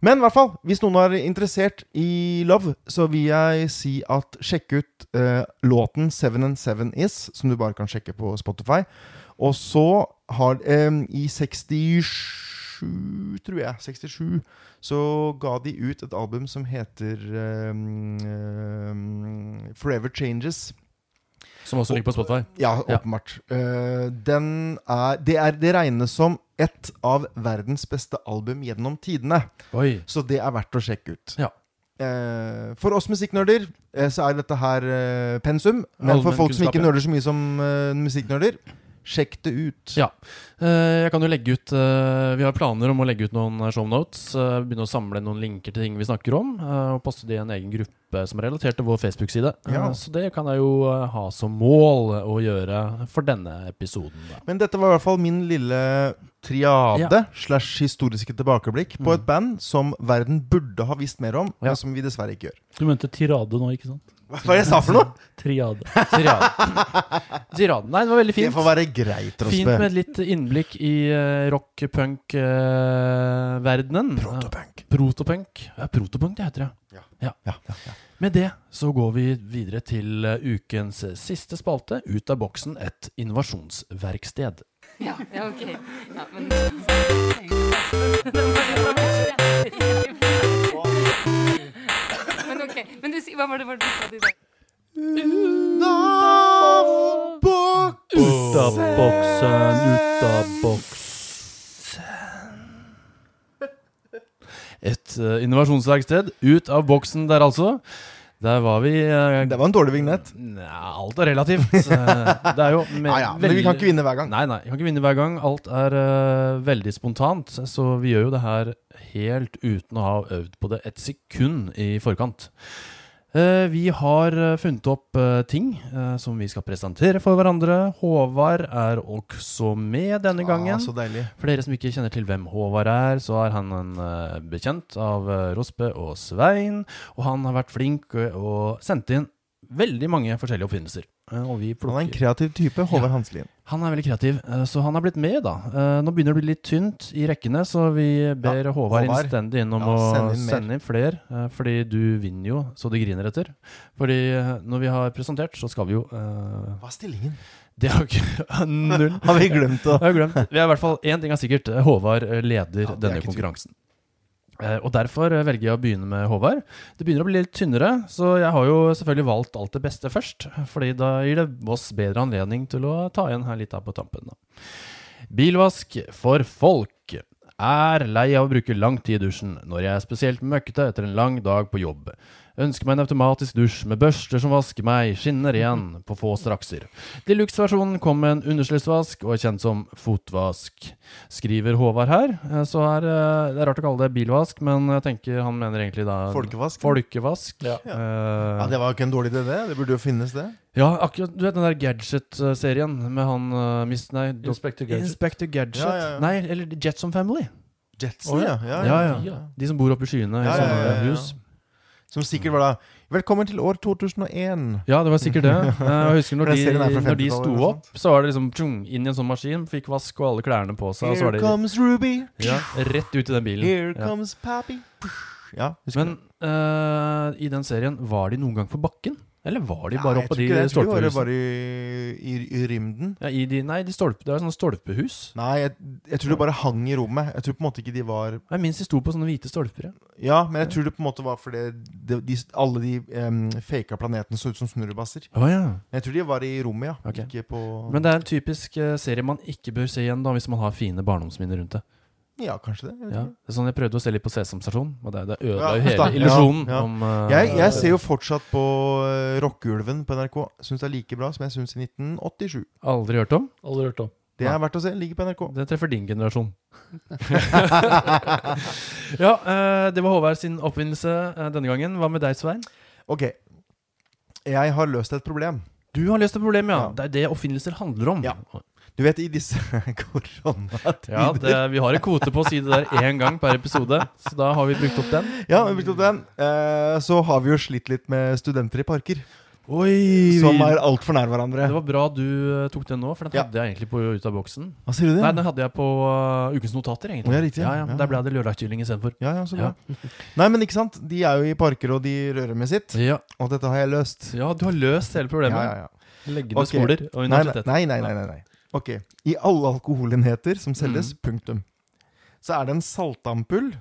Men i hvert fall, hvis noen er interessert i Love, så vil jeg si at sjekk ut eh, låten Seven and Seven Is, som du bare kan sjekke på Spotify. Og så har eh, I 67, tror jeg, 67, så ga de ut et album som heter eh, eh, Forever Changes. Som også ligger på Spotify. Ja, Ja. åpenbart. Eh, den er, det, er, det regnes som ett av verdens beste album gjennom tidene. Oi. Så det er verdt å sjekke ut. Ja. Eh, for oss musikknerder eh, så er dette her eh, pensum. Men for Allmenn folk som kunnskap, ikke ja. nerder så mye som eh, musikknerder, sjekk det ut. Ja. Eh, Jeg kan jo legge ut eh, Vi har planer om å legge ut noen eh, shownotes. eh, Begynne å samle noen linker til ting vi snakker om. eh, Og poste det i en egen gruppe som er relatert til vår Facebook-side. Eh, Ja. Så det kan jeg jo eh, ha som mål å gjøre for denne episoden. Da. Men dette var i hvert fall min lille triade slash historiske tilbakeblikk på et band som verden burde ha visst mer om, Mm. Ja. men som vi dessverre ikke gjør. Du mente tirade nå, ikke sant? Hva var det jeg sa for noe? Triade. [LAUGHS] Tirade. Tirade. Nei, det var veldig Det fint. får være greit, Fint Rospe. med et litt innblikk i eh, rock, punk, eh, verdenen. Protopunk. Eh, Protopunk. Ja, protopunk det heter det. Ja, ja, ja. Med det så går vi videre til eh, ukens siste spalte, Ut av boksen, et innovasjonsverksted. Ja, ja, ok. Ja, men Men ok. Men du, si- hva var det var det du sa du sa? Ut av boksen, ut av boks. Et eh, innovasjonsverksted, ut av boksen der altså. Der var vi eh, Det var en dårlig vignett. Nja, alt er relativt. Eh, Det er jo me- [LAUGHS] Ja, ja, men vi kan veldig- ikke vinne hver gang. Nei, nei, vi kan ikke vinne hver gang. Alt er eh, veldig spontant. Så vi gjør jo det her helt uten å ha øvd på det et sekund i forkant. Eh, vi har eh, funnet opp eh, ting eh, som vi skal presentere for hverandre. Håvard er også med denne gangen. Ah, så deilig. For dere som ikke kjenner til hvem Håvard er, så er han en eh, bekjent av eh, Rospe og Svein, og han har vært flink eh, og sendt inn veldig mange forskjellige oppfinnelser. Eh, Og vi Han er en plukker. kreativ type, Håvard Hanselien. Han er veldig kreativ, eh, så han har blitt med, da. Eh, Nå begynner det å bli litt tynt i rekkene, så vi ber Håvard Håvard. innstendig innom Ja, å send inn mer. sende inn flere, eh, fordi du vinner jo så det griner etter. Fordi eh, når vi har presentert, så skal vi jo eh, [LAUGHS] Hva er stillingen? Det har ikke [LAUGHS] null Har vi glemt å jeg har glemt. Vi er i hvert fall Én ting er sikkert. Håvard eh, leder det er denne ikke konkurransen. Eh, Og Derfor eh, velger jeg å begynne med Håvard. Det begynner å bli litt tynnere, så jeg har jo selvfølgelig valgt alt det beste først. Fordi da gir det oss bedre anledning til å ta igjen her litt her på tampen. Da. Bilvask for folk. Er lei av å bruke lang tid i dusjen når jeg er spesielt møkkete etter en lang dag på jobb. Ønsker meg en automatisk dusj med børster som vasker meg, skinner igjen på få strakser. Deluxe-versjonen kom med en undersløsvask og er kjent som fotvask. Skriver Håvard her, eh, så er eh, det er rart å kalle det bilvask, men jeg tenker han mener egentlig da [LAUGHS] Folkevask? Folkevask. Ja. Eh, Ja, Det var jo ikke en dårlig idé, det. Det burde jo finnes, det. ja, akkurat. Du vet den der Gadget-serien med han uh, mist... Nei, dok- Inspector Gadget. Inspector Gadget. Ja, ja, ja. Nei, eller Jetson Family. Jetson, ja. Ja, Ja, ja. De som bor oppe i skyene i Ja, ja, sånne ja, ja. hus. Som sikkert var da Velkommen til år 2001. Ja, det var [LAUGHS] sikkert det. Eh, Jeg husker når Den de, serien er fra når de 50-tallet sto eller noe opp, så var det liksom tjung, inn i en sånn maskin, fikk vask og alle klærne på seg, og så var Here det comes Ruby. ja, rett ut i den bilen. Here Ja. comes Pappy. Ja, husker Men eh, i den serien, var de noen gang på bakken? Eller var de Nei, bare jeg oppå tror de ikke det. Jeg tror det var stolpehusene? bare i, i, i rymden. Ja, i de, nei, de stolpe, det er sånne stolpehus. Nei, jeg, jeg tror det bare hang i rommet. Jeg tror på en måte ikke de var Jeg minst de sto på sånne hvite stolper. Ja. Ja, men jeg tror det på en måte var fordi det, de, alle de em, faka planetene så ut som snurrebasser. Oh, ja. Men Jeg tror de var i rommet, ja. Ok. Ikke på Men det er en typisk eh, serie man ikke bør se igjen da, hvis man har fine barndomsminner rundt det. Ja, kanskje det. Jeg, vet Ja. ikke. Det er sånn jeg prøvde å se litt på Sesam Stasjon, og det, det [LAUGHS] ødela Ja, jo hele stakkars. illusjonen. Ja, ja. om, eh, jeg, jeg ser jo fortsatt på eh, Rockeulven på NRK. Syns det er like bra som jeg syns i 1987. Aldri hørt om. Aldri hørt om. Det er verdt å se. Ligger på NRK. Det treffer [LAUGHS] din generasjon. ja, eh, det var Håvard sin oppfinnelse eh, denne gangen. Hva med deg, Svein? Ok. Jeg har løst et problem. Du har løst et problem, ja. Ja. Det er det oppfinnelser handler om. Ja. Du vet, i disse [LAUGHS] koronatider [LAUGHS] Ja, det, vi har en kvote på å si det der én gang per episode, så da har vi brukt opp den. Ja, vi brukte opp den. Eh, så har vi jo slitt litt med studenter i parker. Oi! Som er altfor nær hverandre. Det var bra du eh, tok den nå, for den Ja. hadde jeg egentlig på Ut av boksen. Hva sier du det? Nei, den hadde jeg på eh, Ukens notater, egentlig. Å, ja, riktig, ja, ja. Ja. Der ble det lørdagskylling istedenfor. Ja, ja, så bra. [LAUGHS] Nei, men ikke sant? De er jo i parker, og de rører med sitt. Ja. Og dette har jeg løst. ja, du har løst hele Ja, problemet. ja, ja. Leggende Ok. skoler og Nei, universitet. nei, nei, nei, nei, nei. Ok. I alle alkoholenheter som selges, punktum, så er det en saltampull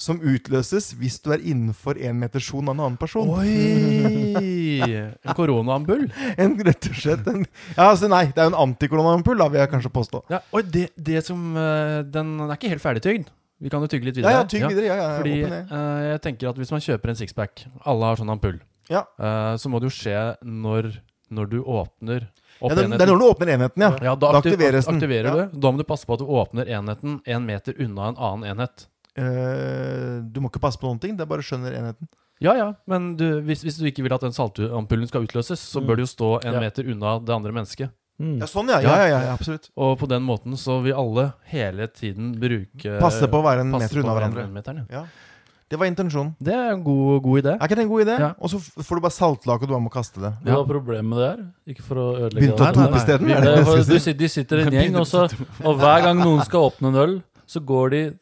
som utløses hvis du er innenfor én meters sone av en annen person. Oi! En koronaambull? En, rett og slett en Ja, altså, nei, det er jo en antikolonaampull, da, vil jeg kanskje påstå. Ja, oi, det, det som eh, Den er ikke helt ferdigtygd. Vi kan jo tygge litt Ja, videre. ja, tygg videre. Ja, ja, Fordi opp og ned. eh, jeg tenker at hvis man kjøper en sixpack Alle har sånn ampull. Ja. eh, så må det jo skje når, når du åpner opp Ja, det, det er enheten. når du åpner enheten, ja. Ja, da, Da aktiv- aktiveres den. aktiverer Ja. du. Da må du passe på at du åpner enheten én meter unna en annen enhet. Eh, du må ikke passe på noen ting, det er bare skjønner enheten. Ja, ja, men du, hvis, hvis du ikke vil at den saltampullen skal utløses, Mm. så bør du jo stå en Ja. meter unna det andre mennesket. Mm. Ja, sånn, ja. Ja, ja, ja, ja absolutt. Og på den måten så vil alle hele tiden bruke Passe på å være en passe meter på unna den hverandre. enmeteren, ja. Ja. Det var intensjonen. Det er en god, god idé. Er ikke det en god idé? Ja. Og så f- får du bare saltlake, og du bare må kaste det. Hva var problemet med det her? Ikke for å ødelegge Begynte å det. Nei, tope nei. isteden? Vi- er det det det var- jeg du skal si? sitter- De sitter [LAUGHS] i en gjeng, og, så, og hver gang noen skal åpne en øl, så går de,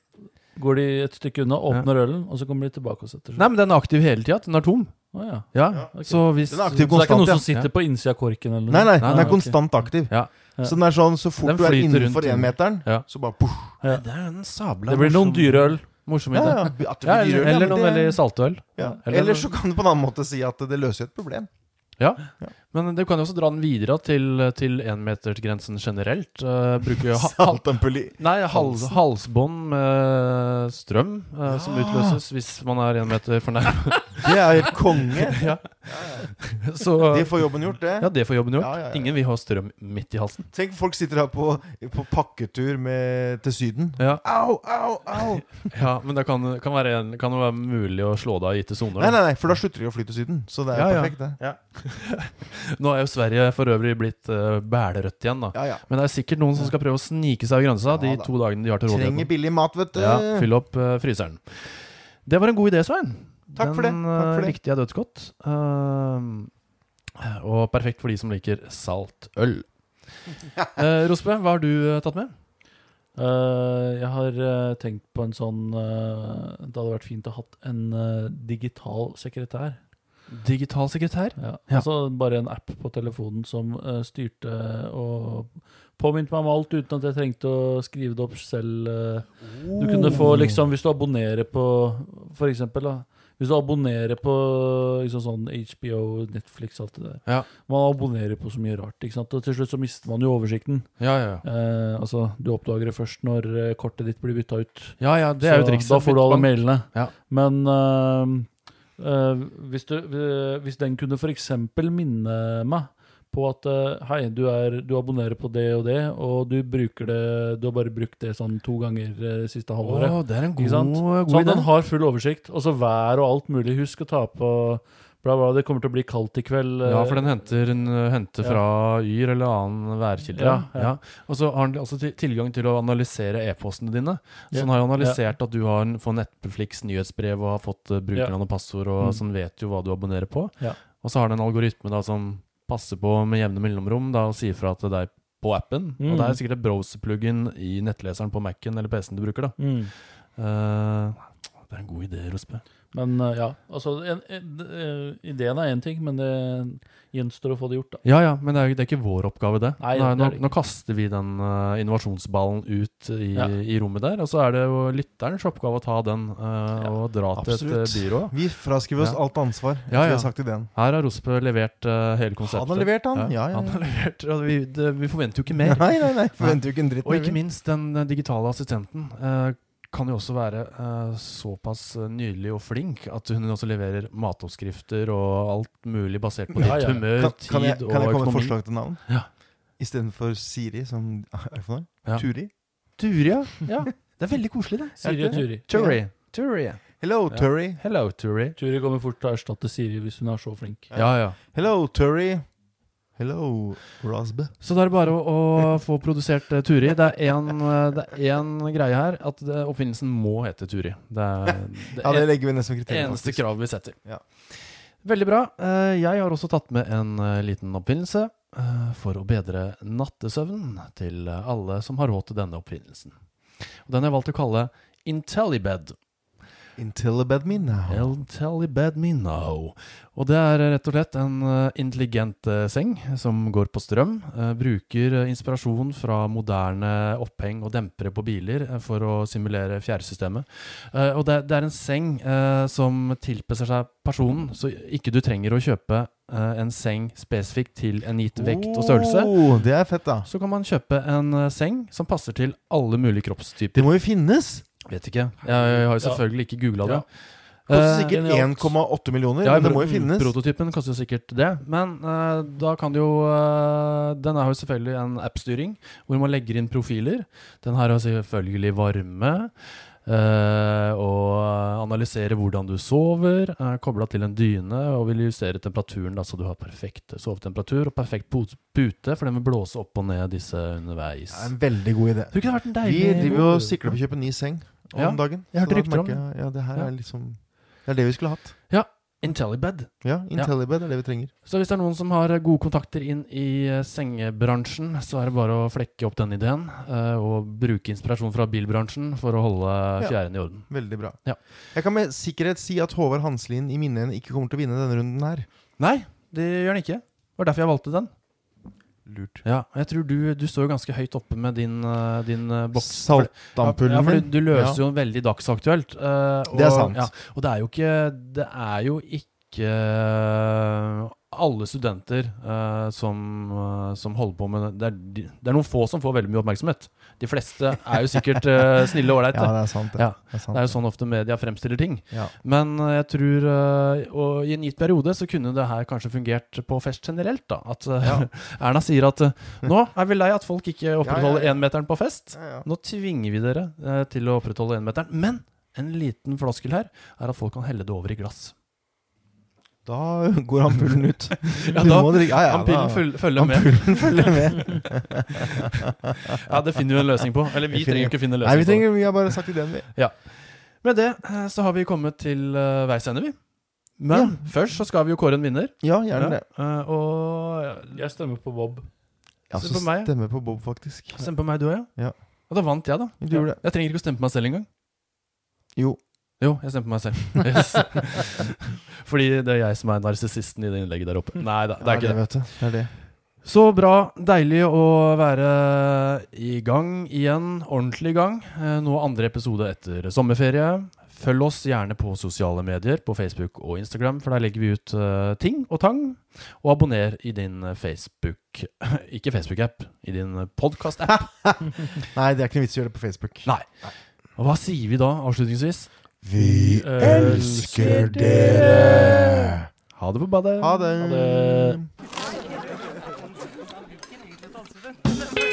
går de et stykke unna, åpner ølen, og så kommer de tilbake og setter seg. Nei, men den er aktiv hele tida. Den er tom. Å, ja. Ja, ok. Så hvis Den er Så det er aktiv ikke konstant, noen ja. som sitter på innsida av korken? Eller noe? Nei, nei, Nei, den er nei, ok. konstant aktiv. Ja. Ja. Så den er sånn, så fort Den du er flyter innenfor rundt i den. enmeteren, Ja. så bare poff. Ja. Det er en sabla Det blir noen dyre øl. Morsom Ja, idé. ja. Ja, At det blir eller, rød, ja, eller men noen det- veldig saltøl. ja. eller- Eller så kan du på en annen måte si at det løser jo et problem. Ja. Men du kan jo også dra den videre til, til enmetersgrensen generelt. [LAUGHS] Eh, bruke ha hal Saltampull i nei, hals halsbånd med strøm eh, som utløses hvis man er én meter for nær. [LAUGHS] Det er jo konge. ja. Så De får jobben gjort, det. ja, det får jobben gjort. Ja, ja, ja. Ingen vil ha strøm midt i halsen. Tenk, folk sitter her på, på pakketur med, til Syden. Ja, Au, au, au! ja Men det kan, kan, være en, kan jo være mulig å slå det av i gitte soner. Nei, da. nei, nei, for da slutter de å fly til Syden. Så det er Ja, ja. perfekt, det. Nå er jo Sverige for øvrig blitt uh, bælerødt igjen, da. Ja, ja. Men det er sikkert noen som skal prøve å snike seg av grensa Ja, de da. to dagene de har til rådighet. nå. Trenger billig mat, vet du. Ja, fyll opp eh, fryseren. Det var en god idé, Svein. Takk for det, Den takk for eh, det. likte jeg dødsgodt. Eh, og perfekt for de som liker [LAUGHS] saltøl. Uh, Rospe, hva har du eh, tatt med? Eh, jeg har eh, tenkt på en sånn eh, Det hadde vært fint å ha hatt en eh, digital sekretær. Digital sekretær. Ja. Ja. Altså bare en app på telefonen som eh, styrte og påminte meg om alt uten at jeg trengte å skrive det opp selv. eh. Du kunne få liksom, hvis du abonnerer på For eksempel, da. Hvis du abonnerer på liksom sånn HBO, Netflix, alt det der. Ja. Man abonnerer på så mye rart. ikke sant? Og til slutt så mister man jo oversikten. Ja, ja. Eh, altså, du oppdager det først når eh, kortet ditt blir bytta ut. ja, ja det er jo Så trikset. Da får du alle Byttbank. mailene. Ja. Men eh, eh, hvis, du, eh, hvis den kunne f.eks. minne meg på at eh, hei, du, er, du abonnerer på det og det, og du bruker det Du har bare brukt det sånn to ganger eh, det siste halvåret. Å, det er en Ikke god, sant? god Sånn at idé. den har full oversikt. Og så vær og alt mulig. Husk å ta på bla, bla. Det kommer til å bli kaldt i kveld. eh, Ja, for den henter, en, eh, henter Ja. fra Yr eller annen værkilde. Ja, ja. ja. Og så har den også til- tilgang til å analysere e-postene dine. Ja. Så den har jo analysert at du har en, får Netflix nyhetsbrev og har fått eh, brukernavn og passord, og Mm. sånn vet jo hva du abonnerer på. Ja. Og så har den en algoritme da, som passer på med jevne mellomrom da, og sier fra til deg på appen. Mm. Og det er sikkert et browser-pluggen i nettleseren på Mac-en eller PC-en du bruker. da. mm. Eh, Det er en god idé, Rospe. Men eh, ja, altså en, en, eh, Ideen er én ting, men det gjenstår å få det gjort, da. Ja, ja, men det er, jo- det er ikke vår oppgave, det. Nei, nå, det er nå, det nå kaster vi den eh, innovasjonsballen ut i, Ja. i rommet der, og så er det jo lytterens oppgave å ta den eh, Ja, og dra til et eh, absolutt. byrå. Vi fraskriver oss Ja. alt ansvar. Ja, Vi ja. har sagt ideen. Her har Rospe levert eh, hele Han konseptet. har levert, han. Ja, ja, Han ja. har levert, og vi, det, vi forventer jo ikke mer. [LAUGHS] Nei, nei, nei. Forventer jo ikke en dritt. Og ikke vi. minst den eh, digitale assistenten eh, kan jo også være eh, såpass eh, nydelig og flink at hun også leverer matoppskrifter og alt mulig basert på Ja, ditt ja. humør, Kan, tid kan, jeg, kan jeg og komme med et økonomi. forslag til navn? Ja. Istedenfor Siri, som [LAUGHS] er for noe? Ja. Turi. Turi, ja. ja. Det er veldig koselig, det. [LAUGHS] Siri og Turi. Turi. Turi. Hello, Ja. Turi. Hello, Turi. Turi kommer fort til å erstatte Siri hvis hun er så flink. Ja, ja. Hello, Turi. Hello, Rosbe. Så da er det bare å, å få produsert eh, Turi. Det er én eh, greie her, at det, oppfinnelsen må hete Turi. Det er det Ja, det legger vi ned som kriterium. Eneste faktisk. krav vi setter. Ja. Veldig bra. Eh, Jeg har også tatt med en eh, liten oppfinnelse eh, for å bedre nattesøvnen til eh, alle som har råd til denne oppfinnelsen. Og den har jeg valgt å kalle Intellibed. Until bed me now. Intellibed me now. Og det er eh, rett og slett en eh, intelligent eh, seng som går på strøm. eh, Bruker eh, inspirasjon fra moderne oppheng og dempere på biler eh, for å simulere fjærsystemet. Eh, og det, det er en seng eh, som tilpasser seg personen, så ikke du trenger å kjøpe eh, en seng spesifikt til en gitt vekt og størrelse. Oh, det er fett, da. Så kan man kjøpe en eh, seng som passer til alle mulige Det kroppstyper. må jo finnes! Vet ikke. Jeg, jeg har jo Ja. selvfølgelig ikke googla det. Koster Eh, sikkert genialt. 1,8 millioner, ja, men det må jo pro- finnes. Prototypen koster jo sikkert det. Men eh, da kan du jo eh, Den har jo selvfølgelig en appstyring hvor man legger inn profiler. Den her har selvfølgelig varme. eh, og analyserer hvordan du sover, uh, kobla til en dyne og vil justere temperaturen da, så du har perfekt sovetemperatur og perfekt pot- pute, for den vil blåse opp og ned disse underveis. Det er en veldig god idé. Tror du ikke det har vært en Vi deilig driver jo og sikler på å kjøpe ny seng om Ja, dagen. jeg hørte Så da rykter om merker jeg- Ja, det her Ja. er liksom Det er det vi skulle hatt. Intellibed. Ja, Intellibed er det vi trenger. Så hvis det er noen som har gode kontakter inn i eh, sengebransjen, så er det bare å flekke opp den ideen eh, og bruke inspirasjon fra bilbransjen for å holde Ja. fjæren i orden. Veldig bra. Ja. Jeg kan med sikkerhet si at Håvard Hanselin i Minneien ikke kommer til å vinne denne runden her. Nei, det gjør den ikke. Det var derfor jeg valgte den. Lurt. Ja, og jeg tror Du, du står jo ganske høyt oppe med din, eh, din eh, boks. Saltampullen ja, for min. du, du løser Ja. jo veldig dagsaktuelt. eh, og, Det er sant. Ja, og det er jo ikke, det er jo ikke eh, alle studenter eh, som, eh, som holder på med det. Det er, de- det er noen få som får veldig mye oppmerksomhet. De fleste er jo sikkert [LAUGHS] eh, snille og ålreite. Ja, det er sant, det. Ja, det, er sant, det er jo sånn ofte media fremstiller ting. Ja. Men eh, jeg tror eh, Og i en gitt periode så kunne det her kanskje fungert på fest generelt, da. At eh, [LAUGHS] Erna sier at eh, nå er vi lei at folk ikke opprettholder ja. énmeteren på fest. Ja, ja. Nå tvinger vi dere eh, til å opprettholde énmeteren. Men en liten floskel her er at folk kan helle det over i glass. Da går ampullen ut. [LAUGHS] Ja, du da- må drikke. Ja, ja, da- Ampillen føl følger med. Ampullen følger [LAUGHS] med. Ja, Det finner vi en løsning på. Eller vi Jeg finner- trenger ikke finne Nei, vi, løsning på det. trenger, vi har bare sagt ideen, vi. Med det eh, så har vi kommet til eh, veis ende, vi. Men først så skal vi jo kåre en vinner. Ja, gjerne det. Ja, eh, og Jeg stemmer på Bob. Ja, Se så på meg. stemmer på Bob, faktisk. Stem på meg du òg, Ja. Og da vant jeg, da. Du gjorde det. Jeg trenger ikke å stemme på meg selv engang. Jo. Jo, jeg stemmer på meg selv. [LAUGHS] Yes. [LAUGHS] Fordi det er jeg som er narsissisten i det innlegget der oppe. Nei da, det er ikke det. vet du. Det er det. Så bra. Deilig å være i gang igjen. Ordentlig i gang. Eh, Nå andre episode etter sommerferie. Følg oss gjerne på sosiale medier, på Facebook og Instagram, for der legger vi ut eh, ting og tang. Og abonner i din Facebook [LAUGHS] Ikke Facebook-app, i din podkast-app. Nei, det er ikke noe vits i å gjøre det på Facebook. Nei. Og hva sier vi da, avslutningsvis? Vi elsker dere! Ha det på badet. Ha det. Ha det.